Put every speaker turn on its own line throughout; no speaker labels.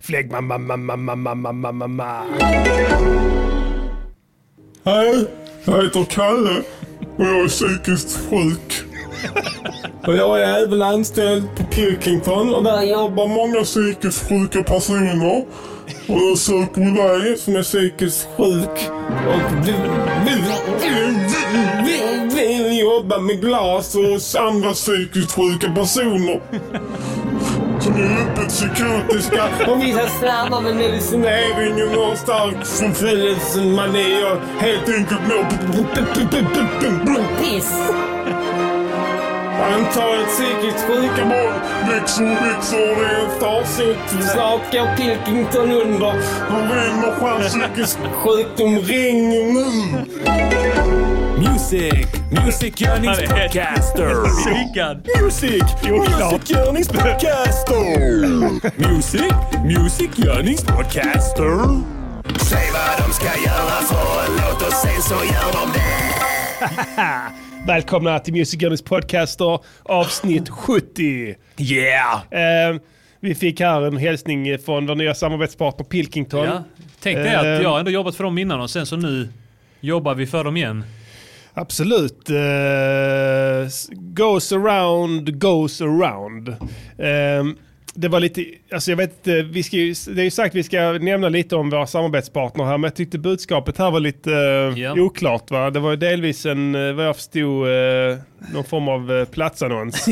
flägg, mamma, mamma, mamma, mamma, mamma.
Hej, jag heter Kalle och jag är psykiskt sjuk. Och jag är även anställd på Pilkington och där jobbar många psykiskt sjuka personer. Och jag söker mig som är psykiskt sjuk och vill, vill, vill, vill, vill jobba med glas och andra psykiskt sjuka personer. Som är öppet psykotiska och vissa slarvar med medicineringen och stark förföljelsemani och helt enkelt mår
Piss.
Antalet psykiskt sjuka barn växer och växer och det är en farsot. Snart går Pilkington under. Och vem har chans psykisk sjukdom? Ring nu!
Music, music-görningspodcaster.
Psykad.
Music, music-görningspodcaster. Music, music-görningspodcaster. Säg vad de ska göra för en låt och sen så gör de det.
Välkomna till Music Journeys podcaster avsnitt 70.
Yeah!
Eh, vi fick här en hälsning från vår nya samarbetspartner Pilkington.
Ja. Tänk dig att
Ehm.
jag har ändå jobbat för dem innan och sen så nu jobbar vi för dem igen.
Absolut. Eh, s- goes around, goes around. Ehm, det var lite, alltså jag vet inte, vi ska ju, det är ju sagt att vi ska nämna lite om våra samarbetspartner här, men jag tyckte budskapet här var lite eh,
Ja.
oklart. Va? Det var ju delvis en, eh, vad jag förstod, eh, någon form av eh, platsannons.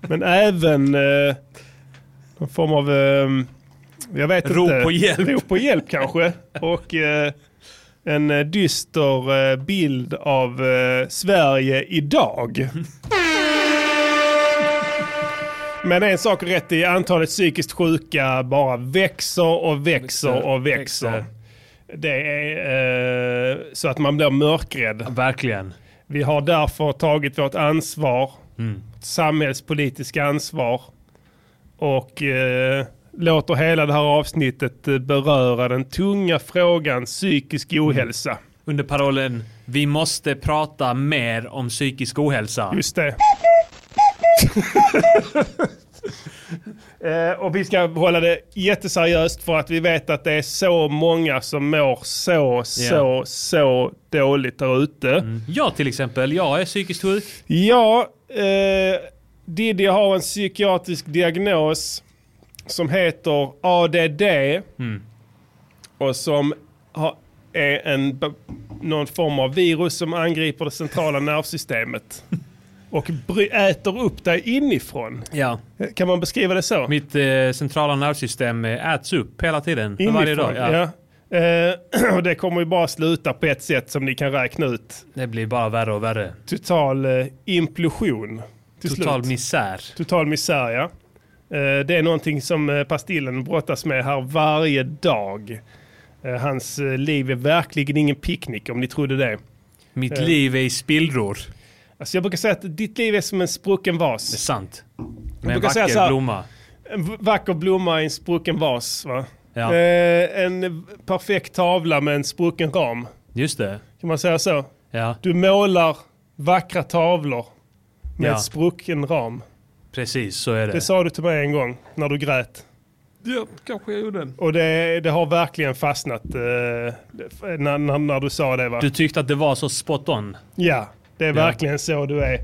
men även eh, någon form av, ehm, jag vet
Rop
inte.
på hjälp.
Rop på hjälp kanske. Och... Eh, en eh, dyster eh, bild av eh, Sverige idag. Men en sak är rätt i, antalet psykiskt sjuka bara växer och växer och växer.
växer.
Det är eh, så att man blir mörkrädd.
Verkligen.
Vi har därför tagit vårt ansvar, vårt samhällspolitiska ansvar och eh, låter hela det här avsnittet eh, beröra den tunga frågan psykisk ohälsa.
Under parollen Vi måste prata mer om psykisk ohälsa.
Just det. Eh, och vi ska hålla det jätteseriöst för att vi vet att det är så många som mår så, så,
Ja.
så dåligt där ute.
Jag till exempel, jag är psykiskt sjuk.
Ja, eh, Diddy har en psykiatrisk diagnos som heter ADD.
Mm.
Och som har, är en, b- någon form av virus som angriper det centrala nervsystemet. Och bry, äter upp dig inifrån.
Ja.
Kan man beskriva det så?
Mitt eh, centrala nervsystem eh, äts upp hela tiden. För
Inifrån,
varje dag. Ja.
ja. Eh, och det kommer ju bara sluta på ett sätt som ni kan räkna ut.
Det blir bara värre och värre.
Total eh, implosion. Till
Total
slut.
misär.
Total misär, ja. Eh, Det är någonting som eh, Pastillen brottas med här varje dag. Eh, Hans eh, liv är verkligen ingen picknick om ni trodde det.
Mitt liv är i spillror.
Alltså jag brukar säga att ditt liv är som en sprucken
Det är
vas.
sant. Med en
brukar säga så
vacker
här-
blomma.
En v- vacker blomma i en sprucken vas. Va?
Ja.
Eh, En eh, perfekt tavla med en sprucken ram.
Just det.
Kan man säga så?
Ja,
Du målar vackra tavlor med
Ja.
en sprucken ram.
precis så är det.
Det sa du till mig en gång när du grät.
Ja, kanske jag gjorde.
Och det, det har verkligen fastnat eh, när, när, när du sa det va?
Du tyckte att det var så spot on.
Ja, det är verkligen så du är.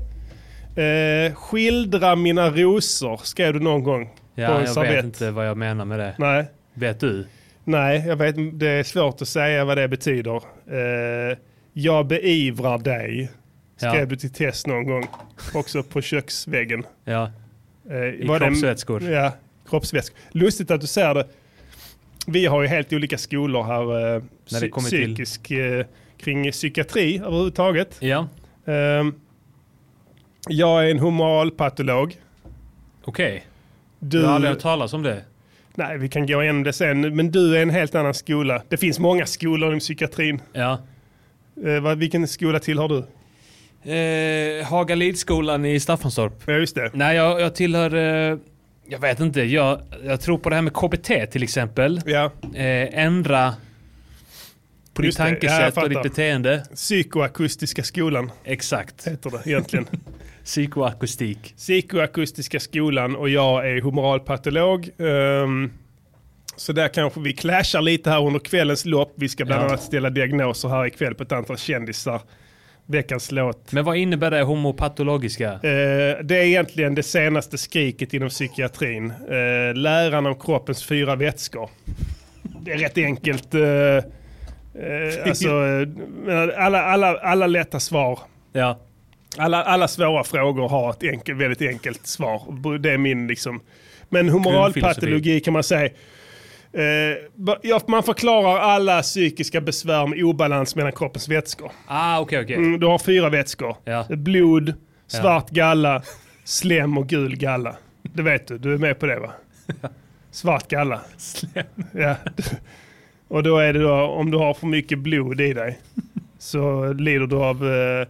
Eh, skildra mina rosor skrev du någon gång
Ja,
på en
jag
servett.
vet inte vad jag menar med det.
Nej,
Vet du?
nej, jag vet Det är svårt att säga vad det betyder. Eh, jag beivrar dig
Ja.
skrev du till Tess någon gång. Också på köksväggen.
Ja,
Eh,
i
var det en-
kroppsvätskor.
Ja, kroppsvätskor. Lustigt att du säger det. Vi har ju helt olika skolor här. Eh,
När det
psy-
kommer till-
psykisk, eh, kring psykiatri överhuvudtaget.
Ja,
Ehm, jag är en humalpatolog.
okej.
Du,
Jag har aldrig hört talas om det.
nej, vi kan gå igenom det sen, men du är en helt annan skola. Det finns många skolor inom psykiatrin.
Ja.
Eh, vad- vilken skola tillhör du?
Eh, Hagalidsskolan i Staffanstorp.
Ja, just det.
Nej, jag, jag tillhör... Eh, jag vet inte. Jag, jag tror på det här med KBT till exempel.
Ja,
Eh, ändra på ditt
Just det. Ja, jag
tankesätt och
fattar.
ditt beteende.
psykoakustiska skolan
Exakt.
heter det egentligen.
Psykoakustik.
psykoakustiska skolan och jag är humoralpatolog. ehm, Så där kanske vi clashar lite här under kvällens lopp. Vi ska bland
Ja.
annat ställa diagnoser här ikväll på ett antal kändisar. Veckans låt.
Men vad innebär det homopatologiska?
Eh, det är egentligen det senaste skriket inom psykiatrin. Eh, läran om kroppens fyra vätskor. Det är rätt enkelt. Eh, eh, alltså, eh, men alla, alla, alla lätta svar.
Ja.
Alla, alla svåra frågor har ett enkel, väldigt enkelt svar. Det är min liksom. Men humoralpatologi kan man säga. Eh, ba- ja, man förklarar alla psykiska besvär med obalans mellan kroppens vätskor.
Ah, okej, okej.
Mm, Du har fyra vätskor.
Ja.
Blod, svart galla, slem och gul galla. Det vet du, du är med på det va? Svart galla. Ja. Och då är det då, om du har för mycket blod i dig så lider du av eh,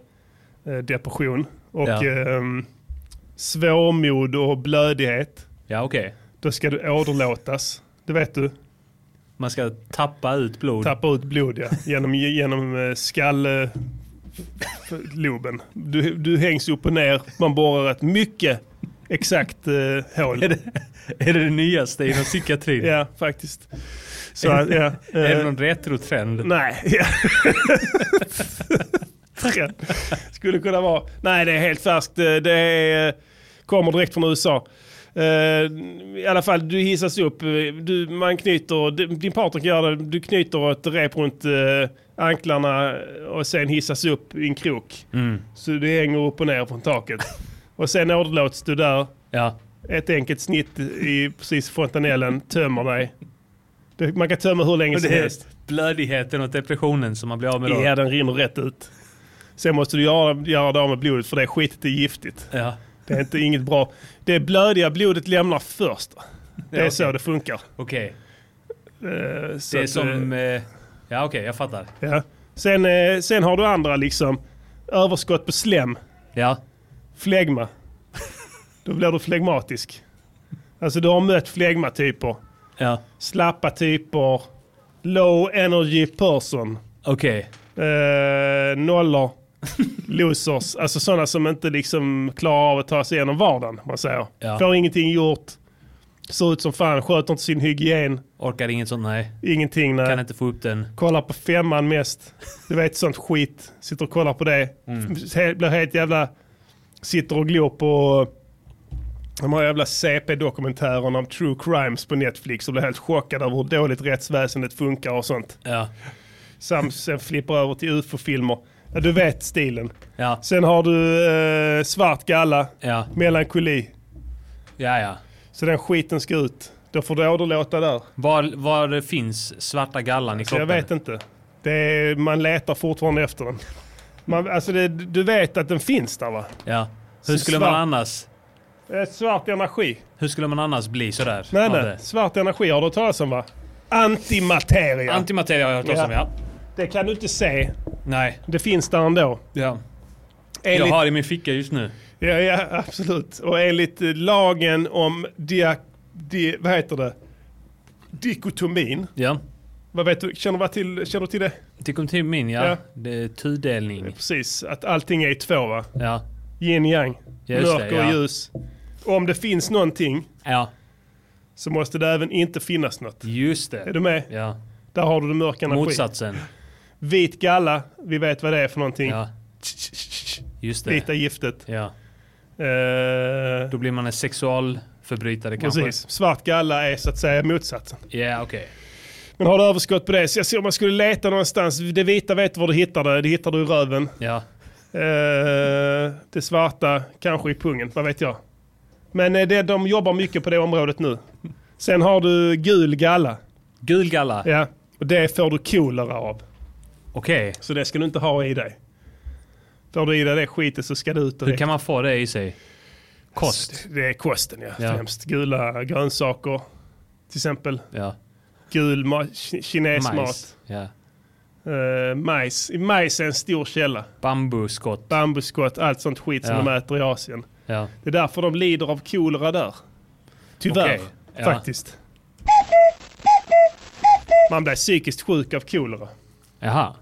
eh, depression och
Ja.
ehm, svårmod och blödighet.
Ja, okej.
Då ska du åderlåtas. Det vet du.
Man ska tappa ut blod.
Tappa ut blod ja. genom, genom eh, skall... eh, f- Loben. Du, du hängs upp och ner. Man borrar ett mycket exakt eh, hål.
Är det, är det det nyaste inom psykiatrin?
Ja, faktiskt. Så, att, ja.
Är
eh,
det någon retrotrend?
Nej. Ja. Trend. Skulle kunna vara. Nej, det är helt färskt. Eh, Det är, eh, kommer direkt från USA. Eh, I alla fall, du hissas upp. Eh, Du, man knyter, d- din partner kan göra det. Du knyter ett rep runt eh, anklarna eh, och sen hissas upp i en krok.
Mm.
Så du hänger upp och ner från taket. Och sen åderlåts du där.
Ja.
Ett enkelt snitt i precis fontanellen tömmer dig. Det- Man kan tömma hur länge
Och
som
det är
helst.
blödigheten och depressionen som man blir av med då?
Ja, den rinner rätt ut. Sen måste du göra, göra det av med blodet för det skitet är giftigt.
Ja.
Det är inte inget bra. Det blödiga blodet lämnar först. Det är
Ja,
så det funkar.
Okej.
Eh, så
Det är
att,
som...
eh,
eh, Ja, okej, jag fattar.
Ja. Sen, eh, sen har du andra liksom. Överskott på slem.
Ja.
Flegma. Då blir du flegmatisk. Alltså du har mött flegmatyper.
Ja.
Slappa typer. Low energy person.
Okej.
Eh, nollor, losers, alltså sådana som inte liksom klarar av att ta sig igenom vardagen. om Man säger.
Ja.
Får ingenting gjort, ser ut som fan, sköter inte sin hygien,
Orkar inget sånt, nej.
ingenting. Nej.
Kan inte få upp den.
Kollar på femman mest, du vet sånt skit. Sitter och kollar på det,
Mm.
He- blir helt jävla, sitter och glor på de här jävla CP-dokumentärerna om true crimes på Netflix och blir helt chockad över hur dåligt rättsväsendet funkar och sånt.
Ja.
Sam sen flippar över till ufo-filmer. Ja, du vet stilen.
Ja.
Sen har du eh, svart galla,
Ja.
melankoli.
Ja, ja.
Så den skiten ska ut. Då får du åderlåta där.
Var, var det finns svarta gallan i
Så Alltså, jag
kroppen?
vet inte. Det är, man letar fortfarande efter den. Man, alltså det, du vet att den finns där va?
Ja. Hur skulle
Svart.
man annars...
Eh, Svart energi.
Hur skulle man annars bli sådär?
Nej
av
nej,
det?
svart energi har du hört talas om va? Antimateria.
Antimateria har jag hört talas om,
Ja.
ja.
det kan du inte se.
Nej.
Det finns där ändå.
Ja. Jag
Enligt
har i min ficka just nu.
Ja, ja, absolut. Och enligt eh, lagen om dia, di, vad heter det? dikotomin.
Ja.
Vad vet du, känner, du till, känner du till det?
Tycker om till min, ja.
Ja.
Det är tudelning.
Precis, att allting är i två va?
Ja.
Yin yang,
Just det,
mörker
ja.
och ljus. Och om det finns någonting
Ja.
så måste det även inte finnas något.
Just
Är
det.
du med?
Ja.
Där har du den mörka energin.
Motsatsen.
Vit galla, vi vet vad det är för någonting.
Ja. Just det.
Vita giftet.
Ja.
Eh,
Då blir man en sexualförbrytare kanske.
precis, svart galla är så att säga motsatsen.
Ja, okej.
Men har du överskott på det, så jag ser om man skulle leta någonstans. Det vita vet du var du hittar det, det hittar du i röven.
Ja.
Eh, det svarta kanske i pungen, vad vet jag. Men eh, det, de jobbar mycket på det området nu. Sen har du gul galla.
Gul galla.
Ja, och det får du kolera av.
Okej.
Så det ska du inte ha i dig. Får du i dig det skitet så ska det ut
Hur
direkt.
kan man få det i sig? Kost.
Det är kosten ja,
Ja.
främst. Gula grönsaker. Till exempel
Ja.
gul ma- ki- kinesmat. Majs.
Majs. Ja.
majs. majs är en stor källa.
Bambuskott.
bambuskott, allt sånt skit som
Ja.
de äter i Asien.
Ja.
Det är därför de lider av kolera där. Tyvärr,
Okej, ja.
faktiskt. Man blir psykiskt sjuk av kolera.
Jaha.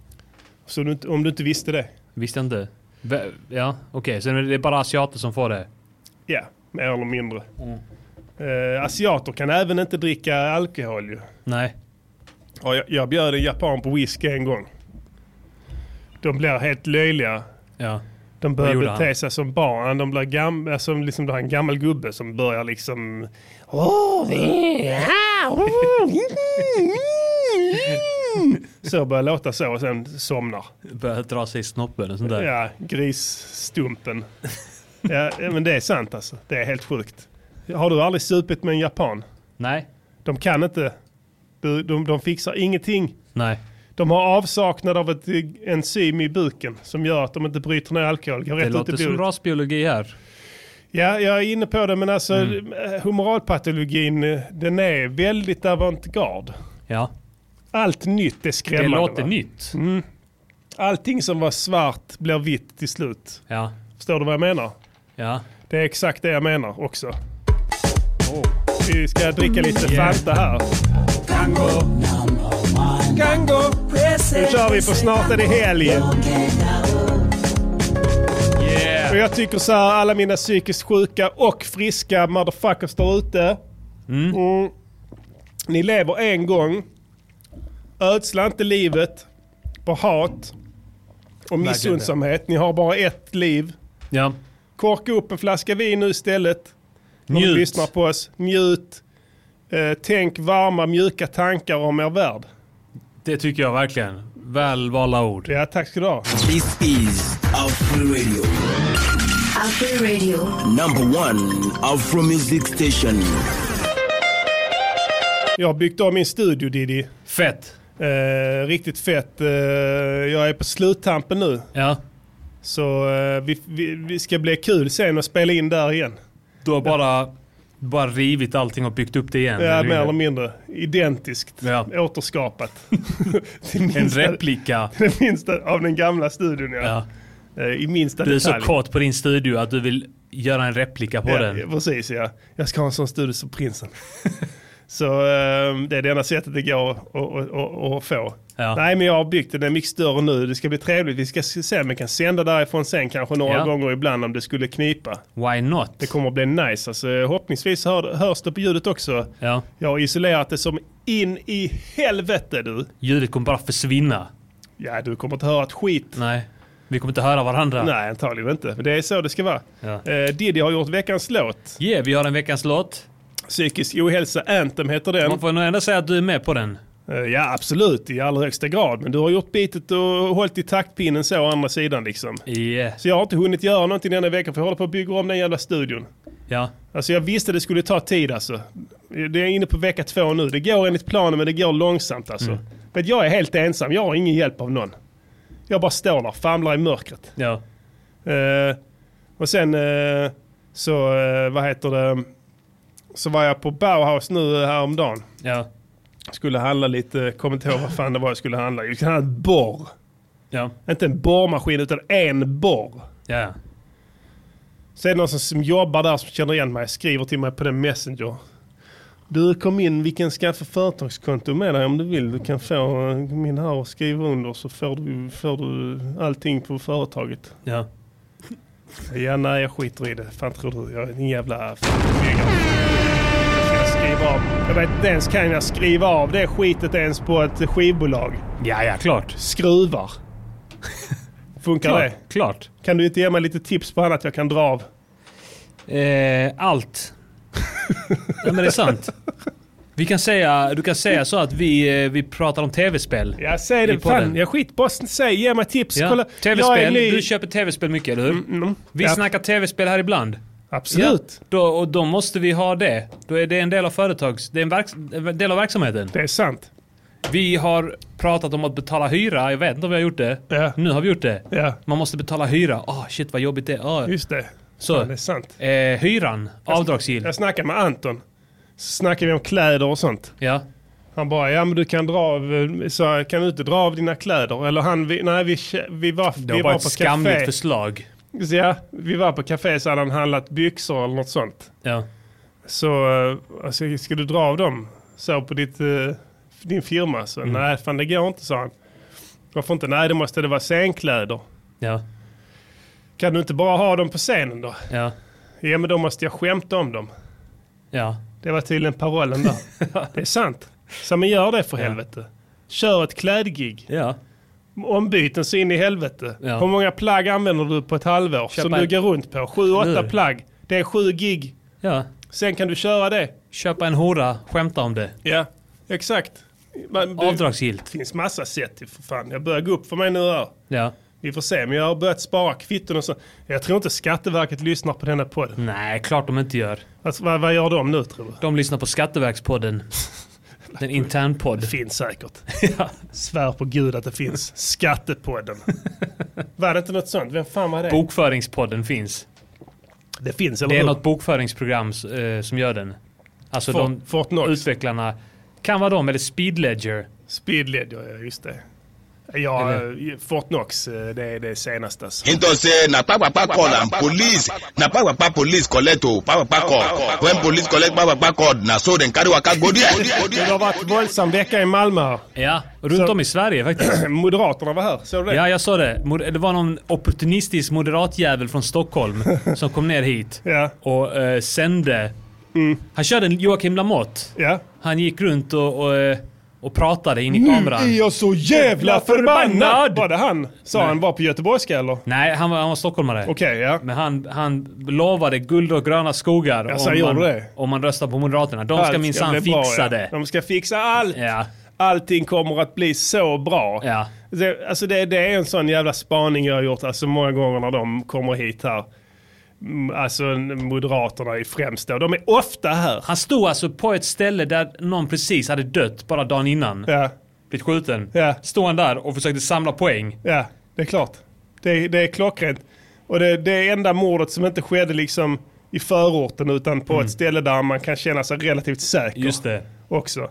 Så du, inte- om du inte visste det.
Visste inte. Vä- Ja, okej. Så det är bara asiater som får det? Mm.
Ja, mer eller mindre. Eh, asiater kan även inte dricka alkohol ju.
Nej.
Ja, jag, jag bjöd en japan på whisky en gång. De blir helt löjliga.
Ja.
De börjar
gjorde han?
bete sig som barn. De blir gam, alltså, liksom, du har en gammal gubbe som börjar liksom... "Åh, vi- ah, åh, mm, mm." Så börjar låta så och sen somnar.
Börjar dra sig i snoppen och sånt där.
Ja, grisstumpen. Ja, men det är sant alltså. Det är helt sjukt. Har du aldrig supit med en japan?
Nej.
De kan inte. De, de, de fixar ingenting.
Nej.
De har avsaknad av ett eh, enzym i buken som gör att de inte bryter ner alkohol. Går
Det
rätt ut i
låter som
blodet.
rasbiologi här.
Ja, jag är inne på det, men alltså
Mm.
eh, humoralpatologin, eh, den är väldigt avantgarde.
Ja.
Allt nytt är
Det
skrämmande.
låter
va?
nytt.
Allting som var svart blir vitt till slut.
Ja.
Förstår du vad jag menar?
Ja.
Det är exakt det jag menar också. Vi ska dricka lite Fanta här. Nu kör vi på snart är det helg. Och jag tycker så här, alla mina psykiskt sjuka och friska motherfuckers där ute. Mm. Ni lever en gång. Ödsla inte livet på hat och missundsamhet. Ni har bara ett liv.
Ja.
Korka upp en flaska vin nu istället. När du
Njut.
lyssnar på oss. Njut. Eh, tänk varma, mjuka tankar om er värld.
Det tycker jag verkligen. Väl valda ord.
Ja, tack ska du ha.
This is Afro Radio,
Afro Radio.
number one Afro music station.
Jag har byggt om min studio, Diddy.
Fett.
Eh, riktigt fett. Eh, jag är på sluttampen nu.
Ja.
Så eh, vi, vi, vi ska bli kul sen och spela in där igen.
Du har bara, bara rivit allting och byggt upp det igen.
Ja,
eller
mer
hur?
eller mindre. Identiskt.
Ja.
Återskapat. Till
En
minsta,
replika.
det minsta av den gamla studion, ja.
Ja.
Eh, I minsta
Du är så
detalj.
kåt på din studio att du vill göra en replika på
Ja,
den.
ja, precis ja. Jag ska ha en sån studio som prinsen. så ehm, det är det enda sättet det går att- att- att- att få.
Ja.
Nej men jag har byggt den, den är mycket större nu. Det ska bli trevligt. Vi ska se om vi kan sända därifrån sen kanske några
Ja.
gånger ibland om det skulle knipa.
Why not?
Det kommer att bli nice. Alltså, hoppningsvis hör, hörs det på ljudet också.
Ja.
Jag har isolerat det som in i helvete du.
Ljudet kommer bara försvinna.
Ja du kommer inte höra ett skit.
Nej. Vi kommer inte höra varandra.
Nej antagligen inte. Men det är så det ska vara.
Ja.
Eh, Diddy har gjort veckans låt.
Yeah, vi har en veckans låt.
Psykisk ohälsa Anthem heter den.
Man får nog ändå säga att du är med på den.
Eh, Ja absolut, i allra högsta grad. Men du har gjort bitet och hållit i taktpinnen så å andra sidan liksom.
Yeah.
Så jag har inte hunnit göra någonting denna veckan för jag håller på att bygga om den jävla studion.
Ja.
Alltså jag visste det skulle ta tid alltså. Det är inne på vecka två nu. Det går enligt planen men det går långsamt alltså. Men jag är helt ensam, jag har ingen hjälp av någon. Jag bara står där, famlar i mörkret.
Ja.
Eh, och sen eh, så, eh, vad heter det, så var jag på Bauhaus nu eh, häromdagen.
Ja.
Skulle handla lite, kommer inte ihåg vad fan det var jag skulle handla. Jag skulle handla ett borr.
Ja.
Inte en borrmaskin utan en borr.
Ja.
Så är det någon som, som jobbar där som känner igen mig, skriver till mig på den messenger. Du kom in, vi kan skaffa företagskonto med dig om du vill. Du kan få eh, kom in här och skriva under så får du, får du allting på företaget.
Ja.
Ja, nej jag skiter i det. Fan tror du? Jag är en jävla fegare. Jag ska skriva av. Jag vet inte ens kan jag skriva av det skitet ens på ett skivbolag.
Ja, ja, klart.
Skruvar. Funkar
Klart.
det?
klart.
Kan du inte ge mig lite tips på annat jag kan dra av?
Eh, allt. ja, men det är sant. Vi kan säga, du kan säga så att vi, eh, vi pratar om tv-spel.
Jag säger
I
det,
podden.
fan, jag skit bara säg, ge mig tips.
Ja.
Kolla, jag är
TV-spel.
ny. Mm,
Du köper tv-spel mycket, eller hur? Vi
Ja.
snackar tv-spel här ibland.
Absolut,
Ja. Då, och då måste vi ha det. Då är det en del av företags... Det är en, verks, en del av verksamheten.
det är sant.
Vi har pratat om att betala hyra. Jag vet inte om vi har gjort det.
Ja.
Nu har vi gjort det.
Ja,
Man måste betala hyra. Ah, shit vad jobbigt det är. Ah.
just det.
Så.
Fan, det är Alltså, sant.
Eh, hyran. Avdragsgill.
Jag snackade med Anton. Så snackade vi om kläder och sånt.
Ja.
Han bara, ja men du kan dra av, eh, så här, kan du inte dra av dina kläder? Eller han, vi, nej vi, kö- vi var,
Det
vi
var bara
var
ett
på
skamligt
café.
förslag.
Så, ja, vi var på café så hade han handlat byxor eller något sånt.
Ja.
Så, eh, alltså, ska du dra av dem så på ditt, eh, din firma? Så,
Mm.
nej fan det går inte, sa han. Varför inte? Nej det måste det vara scenkläder.
Ja.
Kan du inte bara ha dem på scenen då?
Ja.
Ja men då måste jag skämta om dem.
Ja.
Det var tydligen parollen där. det är sant. Så men gör det för helvete. Kör ett klädgig.
Ja.
Ombyten så in i helvete.
Ja.
Hur många plagg använder du på ett halvår som
en-
du går runt på? Sju, åtta
Nu.
plagg. Det är sju gig.
ja.
Sen kan du köra det.
Köpa en hora, skämta om det.
Ja, exakt. Man, det
Avdragsgillt.
finns massa sätt till för fan. Jag börjar gå upp för mig nu här.
Ja.
Vi får se, men jag har börjat spara kvitton och så. Jag tror inte Skatteverket lyssnar på denna podden.
Nej, klart de inte gör.
Alltså, vad, vad gör de nu tror du?
De lyssnar på Skatteverkspodden. Den internpodd.
Det finns säkert. Svär på gud att det finns. Skattepodden. var det inte något sånt? Vem fan var det?
Bokföringspodden finns.
Det finns, eller
Oh. Det är
hur?
något bokföringsprogram eh, som gör den. Alltså
For,
de
Fortnox.
utvecklarna. Kan vara de, eller Speedledger.
Speedled, ja just det. Ja, eh, Fortnox, eh, det är det senaste. alltså.
into say na kpakpakpa call and police na kpakpakpa police collect o kpakpakpa call when police collect kpakpakpa call na so dem carry waka go
Det
there.
har varit våldsam vecka i Malmö här.
Ja, runt
Så-
om i Sverige faktiskt.
Moderaterna var här, såg du det?
Ja, jag sa det. Mod- Det var någon opportunistisk moderatjävel från Stockholm som kom ner hit
Ja. Mm.
och eh, sände. Han körde en Joakim Lamotte.
ja.
Han gick runt och, och, eh, och pratade in i
Mm.
kameran.
jag så jävla
förbannad!
Var det han? Sa han var på göteborgska eller? Okej,
Nej, han var, han var stockholmare.
ja.
Men han, han lovade guld och gröna skogar
Jaså, han
man,
gjorde det?
om man röstar på Moderaterna. De ska
Allt
minsann
bli bra,
fixa
ja.
det.
De ska fixa allt.
Ja,
Allting kommer att bli så bra.
ja.
Det, alltså det, det är en sån jävla spaning jag har gjort alltså många gånger när de kommer hit här. Mm, Alltså Moderaterna är främst då. De är ofta här.
Han stod alltså på ett ställe där någon precis hade dött bara dagen innan.
Ja,
Blivit skjuten.
Ja.
Stod han där och försökte samla poäng.
ja det är klart. Det, det är klockrent. Och det, det är enda mordet som inte skedde liksom i förorten utan på ett ställe där man kan känna sig relativt säker.
Mm. Just det.
också.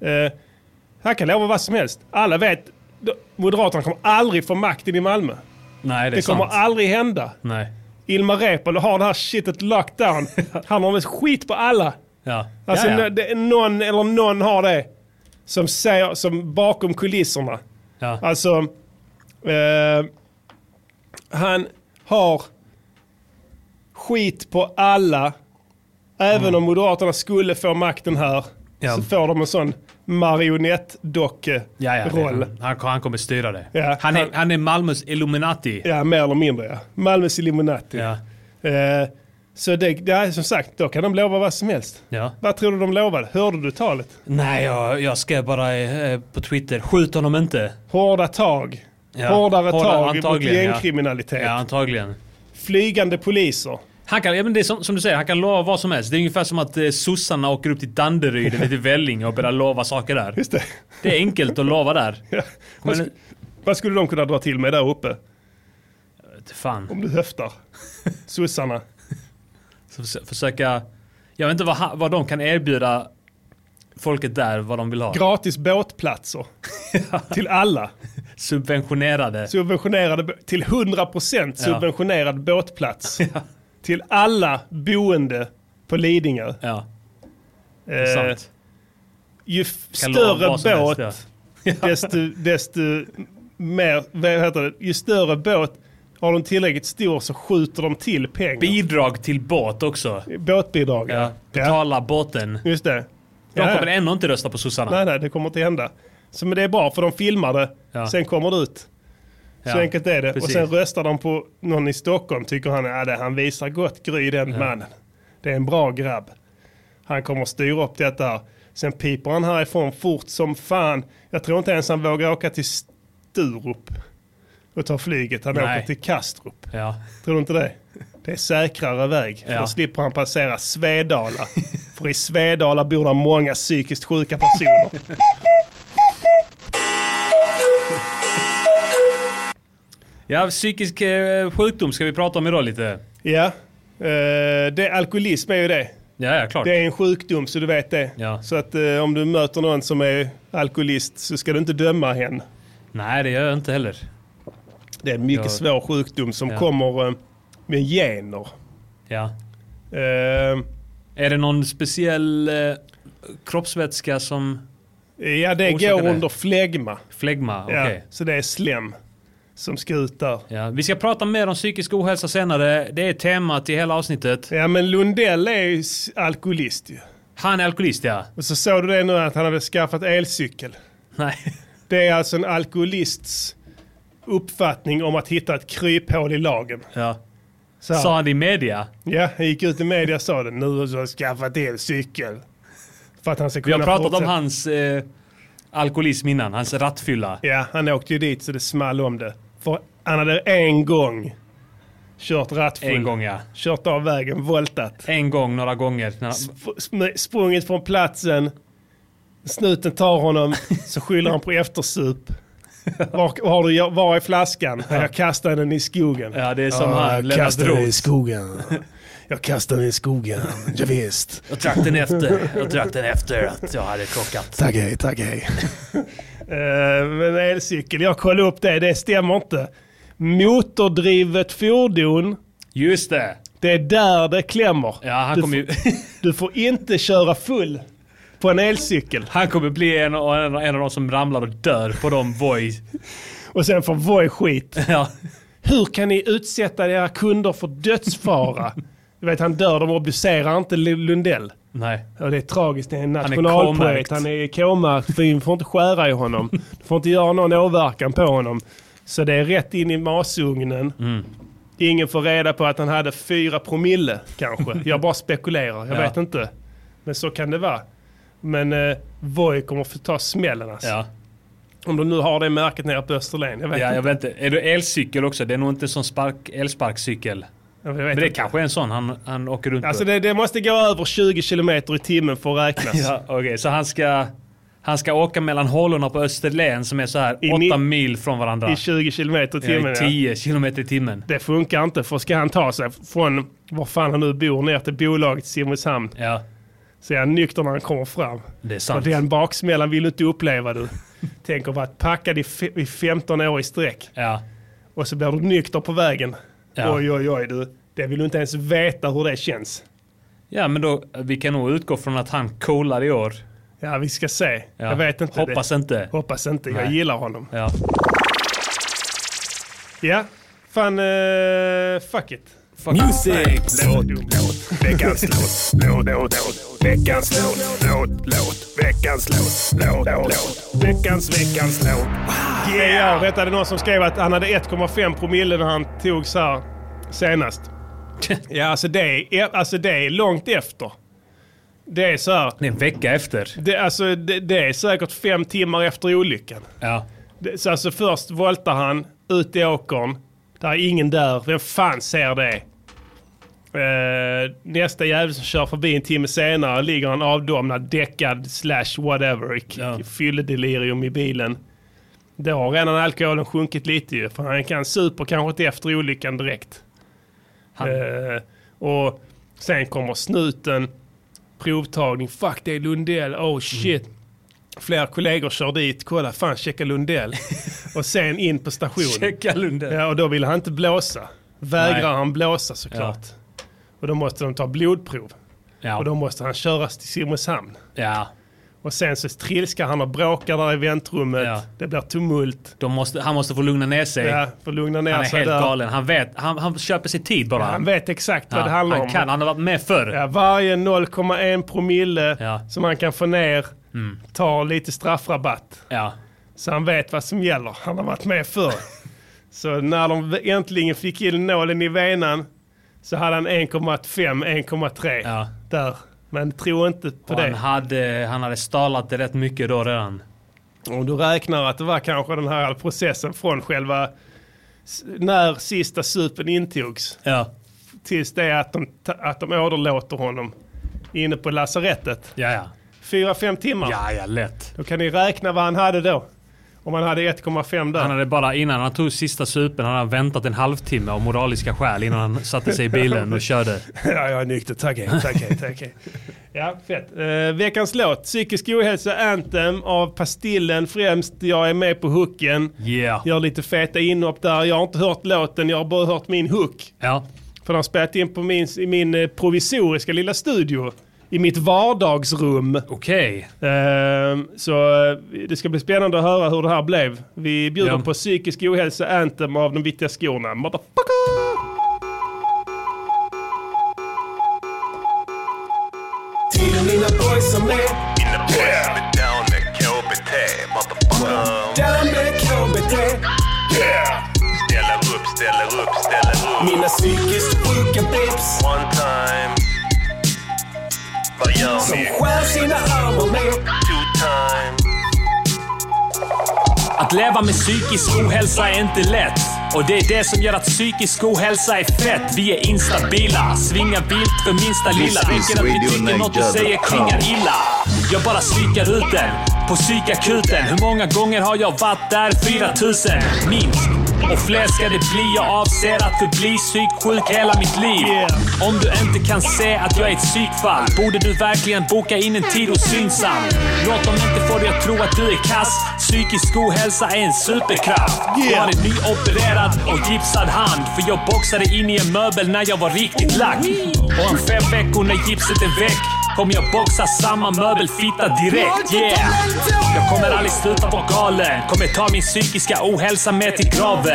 Eh, han kan lova vad som helst. Alla vet, de- Moderaterna kommer aldrig få makten i Malmö.
Nej, det är
Det kommer
sant.
aldrig hända.
Nej.
Ilmar Reepalu har det här shitet locked down. Han har väl skit på alla.
Ja.
Alltså
ja, ja.
nå- Det, är någon eller någon har det som säger, som bakom kulisserna.
Ja.
Alltså, eh, han har skit på alla. Även om Moderaterna skulle få makten här
Mm. Ja.
så får de en sån marionettdocke
Ja, ja, det-
roll.
han, han kommer styra det.
Ja,
han, är,
han-
han är Malmös Illuminati.
Ja, mer eller mindre ja. Malmös Illuminati.
Ja.
Eh, så det, det är som sagt, då kan de lova vad som helst.
Ja.
Vad tror du de lovade? Hörde du talet?
Nej, jag, jag skrev bara eh, på Twitter, skjut honom inte.
Hårda tag.
Ja,
Hårdare
hårda-
tag mot
antagligen, ja.
gängkriminalitet.
Ja, antagligen.
Flygande poliser.
Han kan, ja, men det är som, som du säger, han kan lova vad som helst. Det är ungefär som att eh, sossarna åker upp till Danderyd eller till Vellinge och börjar lova saker där.
Just det. Alltså-
Det är enkelt att lova där.
Ja.
Men,
Vad, sk- vad skulle de kunna dra till med där uppe?
fan.
Om du höftar. Sossarna.
Så förs- försöka... Jag vet inte vad, ha- vad de kan erbjuda folket där, vad de vill ha.
Gratis båtplatser. Till alla.
Subventionerade.
Subventionerade, bå- till 100% subventionerad båtplats. Till alla boende på Lidingö.
Ja,
Eh,
sant.
ju f-
Kan lova
större
vad som helst,
båt, desto, desto mer, vad heter det, ju större båt har de tillräckligt stor så skjuter de till pengar.
Bidrag till båt också.
Båtbidrag.
Ja.
Ja.
Betala båten.
Just det.
De
Ja, ja.
kommer ändå inte rösta på sossarna.
Nej, nej, det kommer inte hända. Så, men det är bra för de filmar det,
Ja.
sen kommer det ut. Så
Ja,
enkelt är det.
precis.
Och sen röstar de på någon i Stockholm, tycker han att han visar gott gry den mannen. Det är en bra grabb. Han kommer styra upp detta. här. Sen piper han härifrån fort som fan. Jag tror inte ens han vågar åka till Sturup och ta flyget. Han
Nej.
åker till Kastrup.
Ja.
Tror du inte det? Det är säkrare väg.
Ja.
Då slipper han passera Svedala. För i Svedala bor det många psykiskt sjuka personer.
ja, psykisk eh, sjukdom ska vi prata om idag lite.
Ja, eh, det, alkoholism är ju det.
Ja, ja, klart.
Det är en sjukdom så du vet det.
Ja.
Så att eh, om du möter någon som är alkoholist så ska du inte döma henne.
Nej, det gör jag inte heller.
Det är en mycket
Ja.
svår sjukdom som
Ja.
kommer eh, med gener.
Ja.
Eh,
Är det någon speciell eh, kroppsvätska som
ja, det
Orsakar
går
det?
under flegma.
flegma?
Ja,
Okej.
så det är slem som ska ut där.
Ja, vi ska prata mer om psykisk ohälsa senare. Det är temat i hela avsnittet.
Ja, men Lundell är ju s- alkoholist ju.
Han är alkoholist ja.
Och så såg du det nu att han hade skaffat elcykel.
Nej.
Det är alltså en alkoholists uppfattning om att hitta ett kryphål i lagen.
Ja.
Så här.
Sa han det i media?
Ja, han gick ut i media och sa det. Nu har jag skaffat elcykel. För att han ska
Vi
kunna
har pratat om
fortsätta.
hans eh, alkoholism innan, hans rattfylla.
Ja, han åkte ju dit så det small om det. För han hade en gång kört rattfull.
En gång ja.
Kört av vägen, voltat.
En gång, några gånger. När han-
Sp- sm- sprungit från platsen. Snuten tar honom, så skyller han på eftersup. Var, var, har du, var är flaskan? Jag kastade den i skogen.
Ja, det är som han, Lennart Droth.
skogen. Jag kastade den i skogen, ja, visst.
Jag drack den efter. Jag drack den efter att jag hade krockat.
Tack hej, tack hej. Eh, Men elcykel, jag kollade upp det, det stämmer inte. Motordrivet fordon,
Just det.
det är där det klämmer.
Ja, han
du,
kommer ju...
får, du får inte köra full på en elcykel.
Han kommer bli en, av- en, av- en av de som ramlar och dör på de Voi.
Och sen får Voi skit.
Ja.
Hur kan ni utsätta era kunder för dödsfara? Du vet, han dör, de obducerar inte Lu- Lundell.
Nej.
Ja, det är tragiskt. Det är en
är
nationalpoet.
K-märkt.
Han är K-märkt. Du får inte skära i honom. Du får inte göra någon åverkan på honom. Så det är rätt in i masugnen.
Mm.
Ingen får reda på att han hade fyra promille kanske. Jag bara spekulerar. Jag
Ja.
vet inte. Men så kan det vara. Men eh, Voi kommer få ta smällen alltså.
Ja.
Om de nu har det märket nere på Österlen. Jag vet
ja,
inte.
jag vet inte. Är det elcykel också? Det är nog inte en sån spark, elsparkcykel.
Jag vet
Men det
inte.
kanske är en sån han, han åker runt
Alltså
på.
det, det måste gå över 20 kilometer i timmen för att räknas.
Ja, Okej, så han ska, han ska åka mellan hålorna på Österlen som är så här
I
åtta
ni-
mil från varandra.
I 20 kilometer i
Ja,
timmen.
I
ja.
10 kilometer i timmen.
Det funkar inte, för ska han ta sig från var fan han nu bor ner till bolaget i Simrishamn
Ja,
så är han nykter när han kommer fram.
det är
Och
sant.
den baksmällan vill du inte uppleva du. Tänk att vara packad i, fe- i 15 år i sträck
Ja,
och så blir du nykter på vägen.
Ja.
Oj, oj, oj du. Det vill du inte ens veta hur det känns.
ja men då, vi kan nog utgå från att han coolar i år.
Ja, vi ska se.
Ja.
Jag vet inte.
Hoppas
det.
inte.
Hoppas inte. Jag
Nej.
gillar honom.
Ja.
Ja, fan eh, fuck it.
Music!
Låt, låt, veckans låt, låt, låt, låt, veckans låt, låt, låt, veckans låt, låt, låt, veckans, veckans låt. Yeah! Detta är någon som skrev att han hade 1,5 promille när han togs här senast. Ja, alltså det är, alltså det är långt efter. Det är så här,
Det är en vecka efter.
det, alltså, det, det är säkert fem timmar efter olyckan.
Ja.
Det- Så alltså först voltar han ut i åkern. Där är ingen där. Vem fan ser det? Eh, nästa jävel som kör förbi en timme senare ligger han avdomnad, däckad, slash whatever. i k-
Ja.
Fylledelirium i bilen. Då har redan alkoholen sjunkit lite ju. För han kan super kanske inte efter olyckan direkt.
Han-
Eh, och sen kommer snuten, provtagning. Fuck det är Lundell, oh shit.
Mm.
Flera kollegor kör dit, kolla fan checka Lundell. och sen in på stationen.
Checka Lunde.
Ja, och då vill han inte blåsa. Vägrar
Nej.
han blåsa såklart. Och då måste de ta blodprov. Och då
Ja.
måste han köras till Simrishamn.
ja.
Och sen så trilskar han och bråkar där i väntrummet.
Ja.
Det blir tumult.
De måste, han måste få lugna ner sig.
Ja, för att lugna ner
Han är
sig
helt
där.
galen. Han, vet, han, han köper sig tid bara.
Han vet exakt vad det handlar
han
om.
kan. Han har varit med förr.
Ja, varje 0,1 promille
Ja. Mm.
som han kan få ner tar lite straffrabatt.
Ja.
Så han vet vad som gäller. Han har varit med förr. så när de äntligen fick in nålen i venan så hade han 1,5, 1,3
Ja.
där. Men tro inte på
Och Han,
det.
hade, han hade stalat det rätt mycket då redan.
Om du räknar att det var kanske den här processen från själva s- när sista supen intogs
Ja.
tills det att de, ta- att de åderlåter honom inne på lasarettet.
Ja, ja.
Fyra, fem timmar.
Ja, ja, lätt.
Då kan ni räkna vad han hade då. Om han hade 1,5 där.
Han hade bara innan han tog sista supen hade han väntat en halvtimme av moraliska skäl innan han satte sig i bilen och körde.
ja, jag är nykter. Tack hej, tack hej, tack hej. Ja, fett. Eh, veckans låt. Psykisk ohälsa Anthem av Pastillen främst. Jag är med på hooken.
Yeah.
Gör lite feta inhopp där. Jag har inte hört låten, jag har bara hört min hook.
Ja.
För de har spelat in på min, i min eh, provisoriska lilla studio. I mitt vardagsrum.
Okej.
Ehm, så eh, det ska bli spännande att höra hur det här blev. Vi bjuder
Ja.
på psykisk ohälsa Anthem av de viktiga skorna. Motherfucker!
Tiden rinner på
motherfucker.
Därmed KBT.
Yeah. Ställer upp, ställer upp, ställer upp.
Mina psykiskt sjuka babes
One time. Vad gör
som
ni?
skär sina armar med.
Two time.
Att leva med psykisk ohälsa är inte lätt. Och det är det som gör att psykisk ohälsa är fett. Vi är instabila, svingar vilt för minsta lilla. Tänker att vi tycker något du säger klingar illa. Jag bara psykar ut den, på psykakuten. Hur många gånger har jag varit där? 4000, minst. Och fler ska det bli. Jag avser att förbli psyksjuk hela mitt liv. Om du inte kan se att jag är ett psykfall borde du verkligen boka in en tid hos Synsam. Låt dem inte få dig att tro att du är kass. Psykisk ohälsa är en superkraft. Jag har en nyopererad och gipsad hand. För jag boxade in i en möbel när jag var riktigt lack. Och om fem veckor när gipset är väck kommer jag boxa samma möbelfitta direkt. Yeah! Jag kommer aldrig sluta vara galen. Kommer ta min psykiska ohälsa med till graven.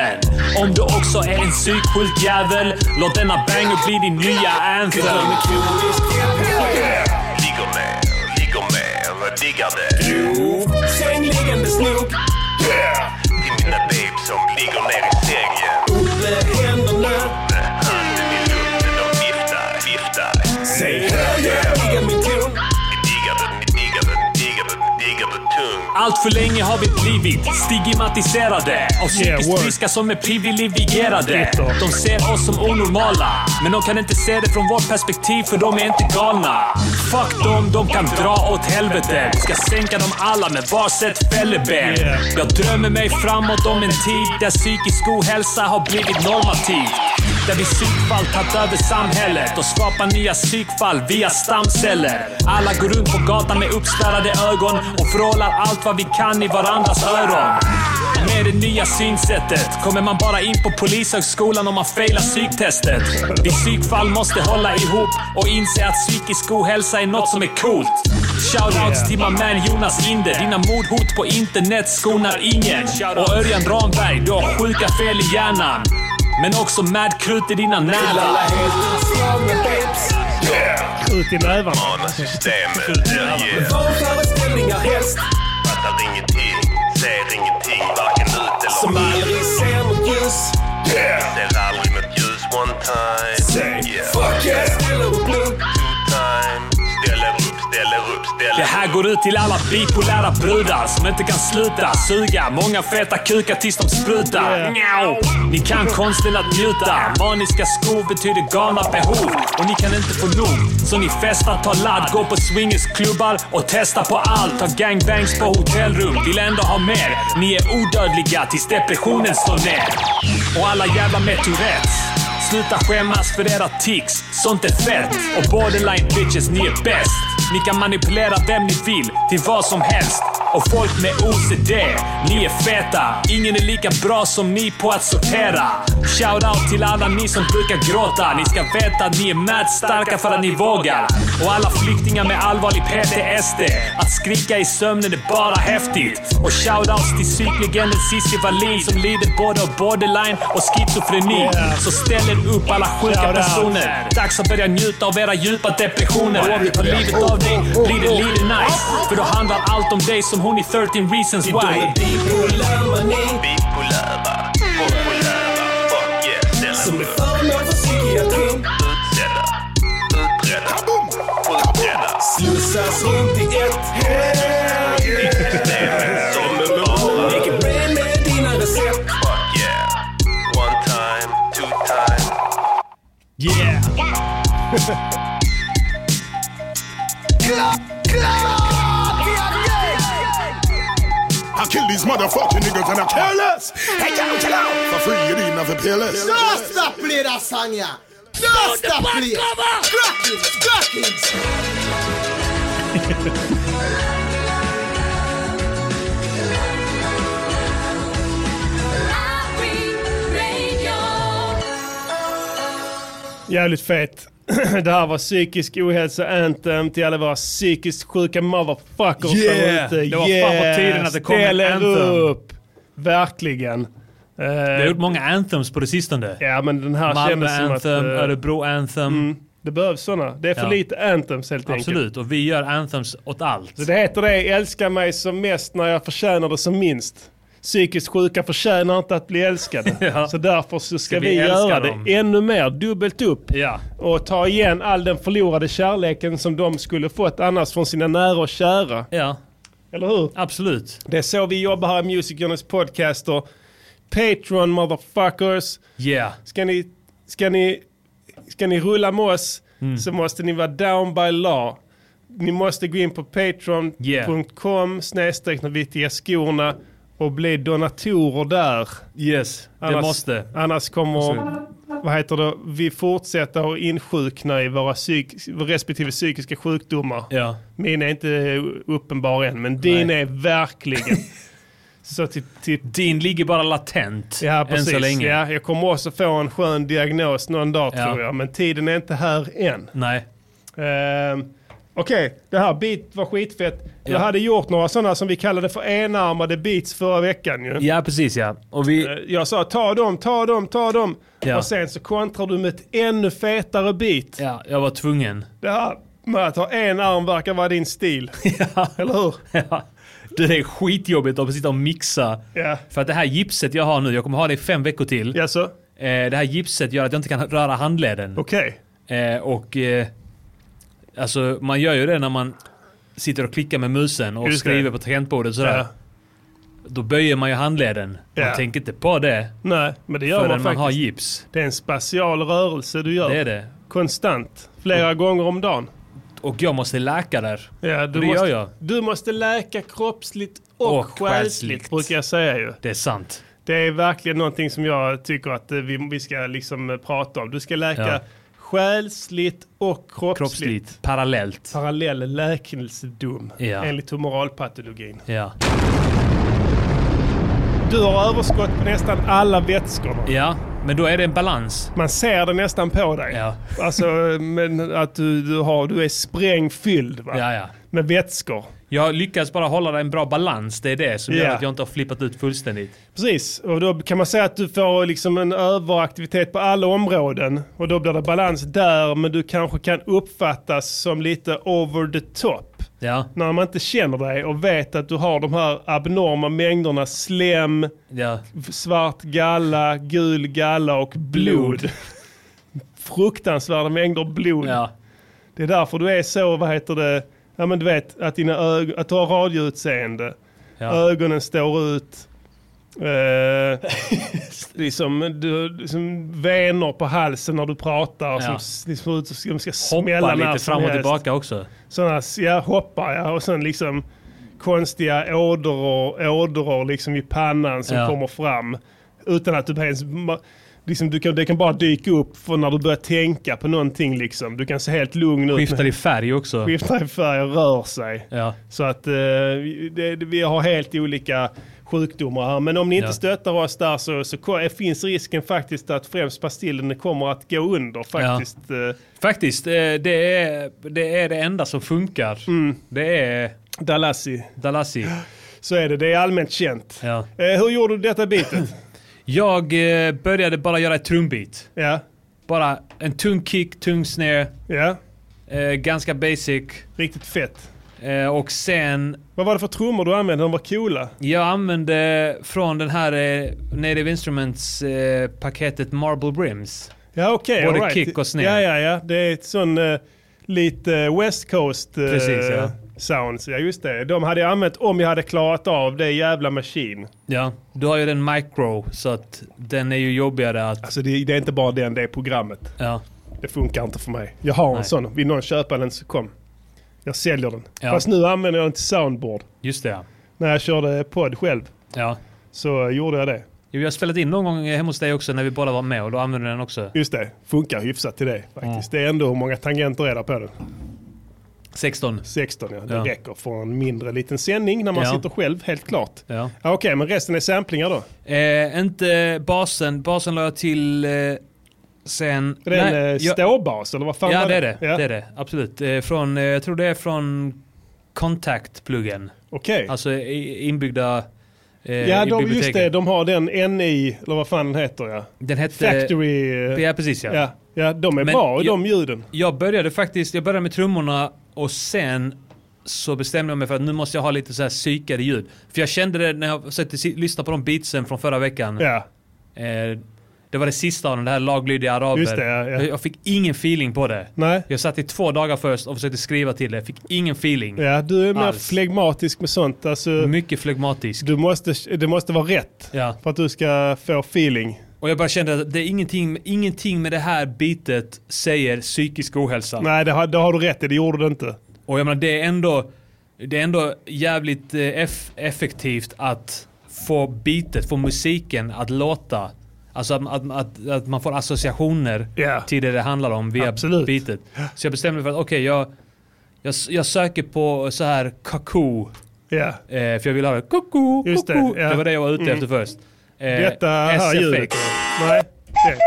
Om du också är en psyksjuk jävel, låt denna banger bli din nya anthem.
Ligger med, ligger med, diggar det.
Sängliggandes nog.
Yeah. Till mina babes som ligger ner i sängen.
Med händerna.
Handen i luften, de viftar, viftar.
Säg höger. Ligga min ton.
Ni diggar det, ni diggar det, ni diggar det, ni diggar det tungt.
Allt för länge har vi blivit stigmatiserade och psykiskt
word.
friska som är privilegierade. De ser oss som onormala, men de kan inte se det från vårt perspektiv för de är inte galna. Fuck dem, de kan dra åt helvete. Ska sänka dem alla med varsitt fälleben. Jag drömmer mig framåt om en tid där psykisk ohälsa har blivit normativt. Där vi psykfall tagit över samhället och skapar nya psykfall via stamceller. Alla går runt på gatan med uppspärrade ögon och vrålar allt vad vi kan i varandras öron. Med det nya synsättet kommer man bara in på polishögskolan om man failar psyktestet. Vi psykfall måste hålla ihop och inse att psykisk ohälsa är något som är coolt. Shoutouts till my man Jonas Inde. Dina mordhot på internet skonar ingen. Och Örjan Ramberg, du har sjuka fel i hjärnan. Men också mad krut i dina nävar.
Ut i nävarna.
Systemet, yeah.
Vad föreställningar helst.
Fattar ingenting, ser ingenting, varken ut eller
Som
in.
aldrig ser något ljus.
Ser aldrig nåt ljus one time. Yeah.
Fuck yeah. Ställer upp nu.
Two time. Ställer upp, ställer upp,
Det
ställer
här går ut till alla bipolära brudar som inte kan sluta suga. Många feta kukar tills de sprutar. Njau. Ni kan konsten att njuta. Maniska skor betyder galna behov. Och ni kan inte få nog. Så ni festar, tar ladd, går på swingersklubbar och testar på allt. Tar gangbangs på hotellrum. Vill ändå ha mer. Ni är odödliga tills depressionen slår ner. Och alla jävla med Tourettes. Sluta skämmas för era tics, sånt är fett. Och borderline bitches, ni är bäst. Ni kan manipulera vem ni vill till vad som helst. Och folk med OCD, ni är feta. Ingen är lika bra som ni på att sortera. Shoutout till alla ni som brukar gråta. Ni ska veta att ni är mad starka för att ni vågar. Och alla flyktingar med allvarlig PTSD. Att skrika i sömnen är bara häftigt. Och shoutouts till psyklegenden Cissi Wallin som lider både av borderline och schizofreni. Så ställ er upp alla sjuka personer. Dags att börja njuta av era djupa depressioner. Och om du tar livet av dig blir det lite nice. För då handlar allt om dig som hon i 13 reasons why.
Bipolär mani.
bipolära. Populära. Fuck yeah.
Som är
Ställer upp,
föremål för psykiatrin.
utsedda. Utredda. Utredda.
Slussas runt i ett hem.
Systemet som en bara.
Lägger brain med dina recept.
Fuck yeah. One time, two time.
Yeah!
I kill these motherfucking niggas and I care less. Hey, yo, chill out. For free, you need nothing peerless.
Just stop play that song, yeah. Just stop play. Crackings, crackings.
Jävligt fett. Det här var psykisk ohälsa anthem till alla våra psykiskt sjuka motherfuckers
Yeah!
där ute.
Det var fan på tiden att det kom en
Ställ er
anthem.
upp! Verkligen. Eh,
Vi har gjort många anthems på det sistone.
ja men den här
Malmö
kändes som
anthem,
att... eh,
Örebro anthem.
Det behövs sådana. Det är för
Ja.
lite anthems helt enkelt.
Absolut, och vi gör anthems åt allt.
Så det heter det, älska mig som mest när jag förtjänar det som minst. Psykiskt sjuka förtjänar inte att bli älskade.
Ja.
Så därför så ska,
vi
vi,
älska
göra
dem?
det ännu mer, dubbelt upp.
Ja.
Och ta igen all den förlorade kärleken som de skulle fått annars från sina nära och kära.
Ja,
Eller hur?
absolut.
Det är så vi jobbar här i Music Journeys podcast. Och Patreon motherfuckers.
Yeah.
Ska ni, ska ni, ska ni rulla med oss så måste ni vara down by law. Ni måste gå in på patreon.com snedstreck när vi till skorna och bli donatorer där.
Yes, det måste.
annars kommer vad heter det, vi fortsätta att insjukna i våra psyk, respektive psykiska sjukdomar.
Ja.
Min är inte uppenbar än, men din är verkligen. så till, till
Din ligger bara latent
Ja,
än
precis.
så länge.
Ja, jag kommer också få en skön diagnos någon dag
Ja.
tror jag, men tiden är inte här än.
Nej.
Ehm, Okej, det här beat var skitfett. Jag
Ja.
hade gjort några sådana som vi kallade för enarmade beats förra veckan ju.
Ja, precis ja. Och vi...
Ehm, Jag sa ta dem, ta dem, ta dem.
Ja.
Och sen så kontrar du med ett ännu fetare beat.
Ja, jag var tvungen.
Det här med att ha en arm verkar vara din stil.
Ja.
Eller hur?
Ja. Det är skitjobbigt att sitta och mixa.
Ja.
För att det här gipset jag har nu, jag kommer ha det i fem veckor till.
Jaså?
Eh, det här gipset gör att jag inte kan röra handleden.
Okej.
Eh, och eh, alltså man gör ju det när man sitter och klickar med musen och
Just det.
skriver på tangentbordet sådär.
Ja.
Då böjer man ju handleden.
Ja.
Man tänker inte på det
Nej, men det gör
förrän
man
man,
faktiskt.
har gips.
Det är en spatial rörelse du gör.
Det Mm. är det.
Konstant. Flera gånger om dagen.
Och jag måste läka där.
Ja, du,
det
måste,
gör jag.
du måste läka kroppsligt och,
Och
själsligt
själsligt.
brukar jag säga ju.
Det är sant.
Det är verkligen någonting som jag tycker att eh, vi, vi ska liksom eh, prata om. Du ska läka
Ja.
själsligt och kroppsligt.
Kroppsligt. Parallellt.
Parallell läkelsedom
Ja.
enligt humoralpatologin.
Ja.
Du har överskott på nästan alla vätskorna.
ja, men då är det en balans.
Man ser det nästan på dig.
Ja.
Alltså, men att du, du, har, du är sprängfylld va?
Ja, ja.
med vätskor.
Jag lyckas bara hålla en bra balans. Det är det som
Ja.
gör att jag inte har flippat ut fullständigt.
Precis, och då kan man säga att du får liksom en överaktivitet på alla områden och då blir det balans där men du kanske kan uppfattas som lite over the top.
Ja,
När man inte känner dig och vet att du har de här abnorma mängderna slem,
ja.
svart galla, gul galla och blod.
Blod.
Fruktansvärda mängder blod.
ja.
Det är därför du är så, vad heter det, ja men du vet att, dina ög- att du har radioutseende.
ja.
Ögonen står ut. Eh, liksom, du, liksom venor på halsen när du pratar som
Ja.
s- liksom ser ut som de ska smälla
Hoppa
när
lite
som
fram och
helst.
tillbaka också.
Sådana, ja, hoppar ja. Och sen liksom konstiga ådror, ådror liksom i pannan som
Ja.
kommer fram. Utan att du ens... ma- Liksom du kan, det kan bara dyka upp för när du börjar tänka på någonting liksom. Du kan se helt lugn ut.
Skiftar i färg också.
Skiftar i färg och rör sig.
Ja.
Så att eh, det, det, vi har helt olika sjukdomar här. Men om ni inte
Ja.
stöttar oss där så, så ko- eh, finns risken faktiskt att främst pastillen kommer att gå under faktiskt. Eh,
Faktiskt, eh, det är, det är det enda som funkar. Det är
Dalassi,
Dalassi.
så är det. Det är allmänt känt.
Ja.
Eh, hur gjorde du detta bitet?
Jag eh, började bara göra ett trumbeat.
ja,
Bara en tung kick, tung snare,
ja,
eh, ganska basic.
riktigt fett.
Eh, och sen,
Vad var det för trummor du använde? De var coola.
jag använde från den här eh, Native Instruments-paketet Marble Brims.
Ja okej,
Både
all right.
kick och snare.
Ja, ja, ja. Det är ett sån eh, lite west coast eh,
Precis, ja.
sounds. Ja just det. De hade jag använt om jag hade klarat av det jävla maskin.
Ja, du har ju den micro, så att den är ju jobbigare att...
Alltså det, det är inte bara den, det är programmet.
Ja,
Det funkar inte för mig. Jag har en
Nej.
sån. Vill någon köpa den så kom. Jag säljer den.
Ja.
Fast nu använder jag den till soundboard.
just det ja.
När jag körde podd själv
ja.
så eh, gjorde jag det.
Jo, Jag har spelat in någon gång hemma hos dig också när vi båda var med och då använde du den också.
Just det, funkar hyfsat till det faktiskt. Det är ändå hur många tangenter är där på den?
16.
16 ja. Det
Ja.
räcker för en mindre liten sändning när man
Ja.
sitter själv, helt klart.
Ja.
Ja, Okej, men resten är samplingar då?
Eh, inte basen. Basen la jag till eh, sen...
Är det en
Nej,
eh,
jag-
ståbas eller vad fan
Ja,
var
det är det.
Ja.
Det är det. Absolut. Eh, från, eh, jag tror det är från Contact-pluggen.
Okej.
Alltså i- inbyggda eh,
ja,
i
de, just
biblioteket.
det. De har den NI, eller vad fan den heter ja.
Den hette...
Factory... eh,
Ja, precis ja.
Ja, Ja, de är
Men
bra,
jag-
de ljuden.
Jag började faktiskt, jag började med trummorna och sen så bestämde jag mig för att nu måste jag ha lite så här psykade ljud. För jag kände det när jag satt och si- lyssnade på de beatsen från förra veckan.
Ja.
Eh, det var det sista av den, det här laglydiga araber.
Just det, ja, ja.
Jag, jag fick ingen feeling på det.
Nej.
Jag satt i två dagar först och försökte skriva till det. Fick ingen feeling.
Ja, du är mer
Alls.
flegmatisk med sånt. Alltså,
Mycket flegmatisk.
du måste, det måste vara rätt
Ja.
för att du ska få feeling.
Och jag bara kände att det är ingenting, ingenting med det här bitet säger psykisk ohälsa.
Nej, det har, det har du rätt i. Det gjorde du inte.
Och jag menar det är ändå, det är ändå jävligt eh, eff- effektivt att få bitet, få musiken att låta. Alltså att, att, att, att man får associationer
Ja.
till det det handlar om via
Absolut.
bitet. Så jag bestämde mig för att okej, jag, jag, jag söker på så här kakoo.
Ja.
Eh, för jag ville ha kakoo,
Just det,
kakoo.
ja. Mm.
det var det jag var ute efter först. Eh,
Detta här ljudet. Nej. Det.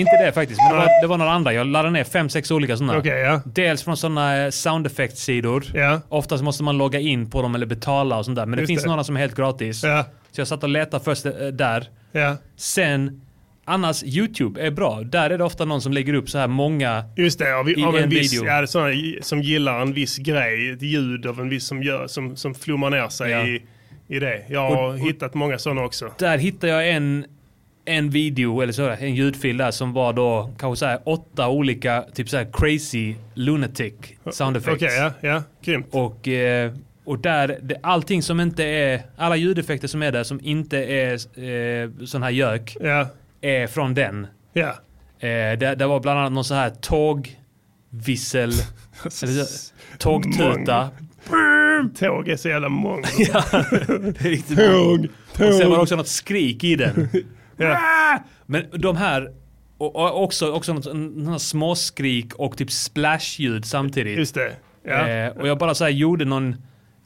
Inte det faktiskt, men det var, det var några andra. Jag laddade ner fem, sex olika sådana.
Okej, ja.
Dels från sådana sound effects-sidor.
Ja.
Oftast måste man logga in på dem eller betala och sånt där. Men det
Just
finns
det.
några som är helt gratis.
Ja.
Så jag satt och letade först eh, där.
Ja.
Sen, annars YouTube är bra. Där är det ofta någon som lägger upp så här många.
Just det, av,
I
av en,
en
viss,
video.
ja, det är sådana i- som gillar en viss grej, ett ljud av en viss som, gör, som, som flummar ner sig
Ja.
i, i det. Jag har
Och- och-
hittat många sådana också.
Där hittade jag en, en video, eller så, här, en ljudfil där som var då kanske så här åtta olika, typ så här crazy lunatic sound
Okej,
effects.
ja, ja, grymt.
Och, eh, och där, det, allting som inte är, alla ljudeffekter som är där som inte är eh, sån här gök
Ja,
är Eh, från den.
ja.
Eh, det, det var bland annat någon sån här tågvissel, eller så- tågtuta.
Tåg är så jävla många.
Det är riktigt bra. Och sen var det också något skrik i den. Ah! Men de här, och, och också, också något, några småskrik och typ splashljud samtidigt.
Just det. Ja,
Eh, och jag bara så här gjorde någon,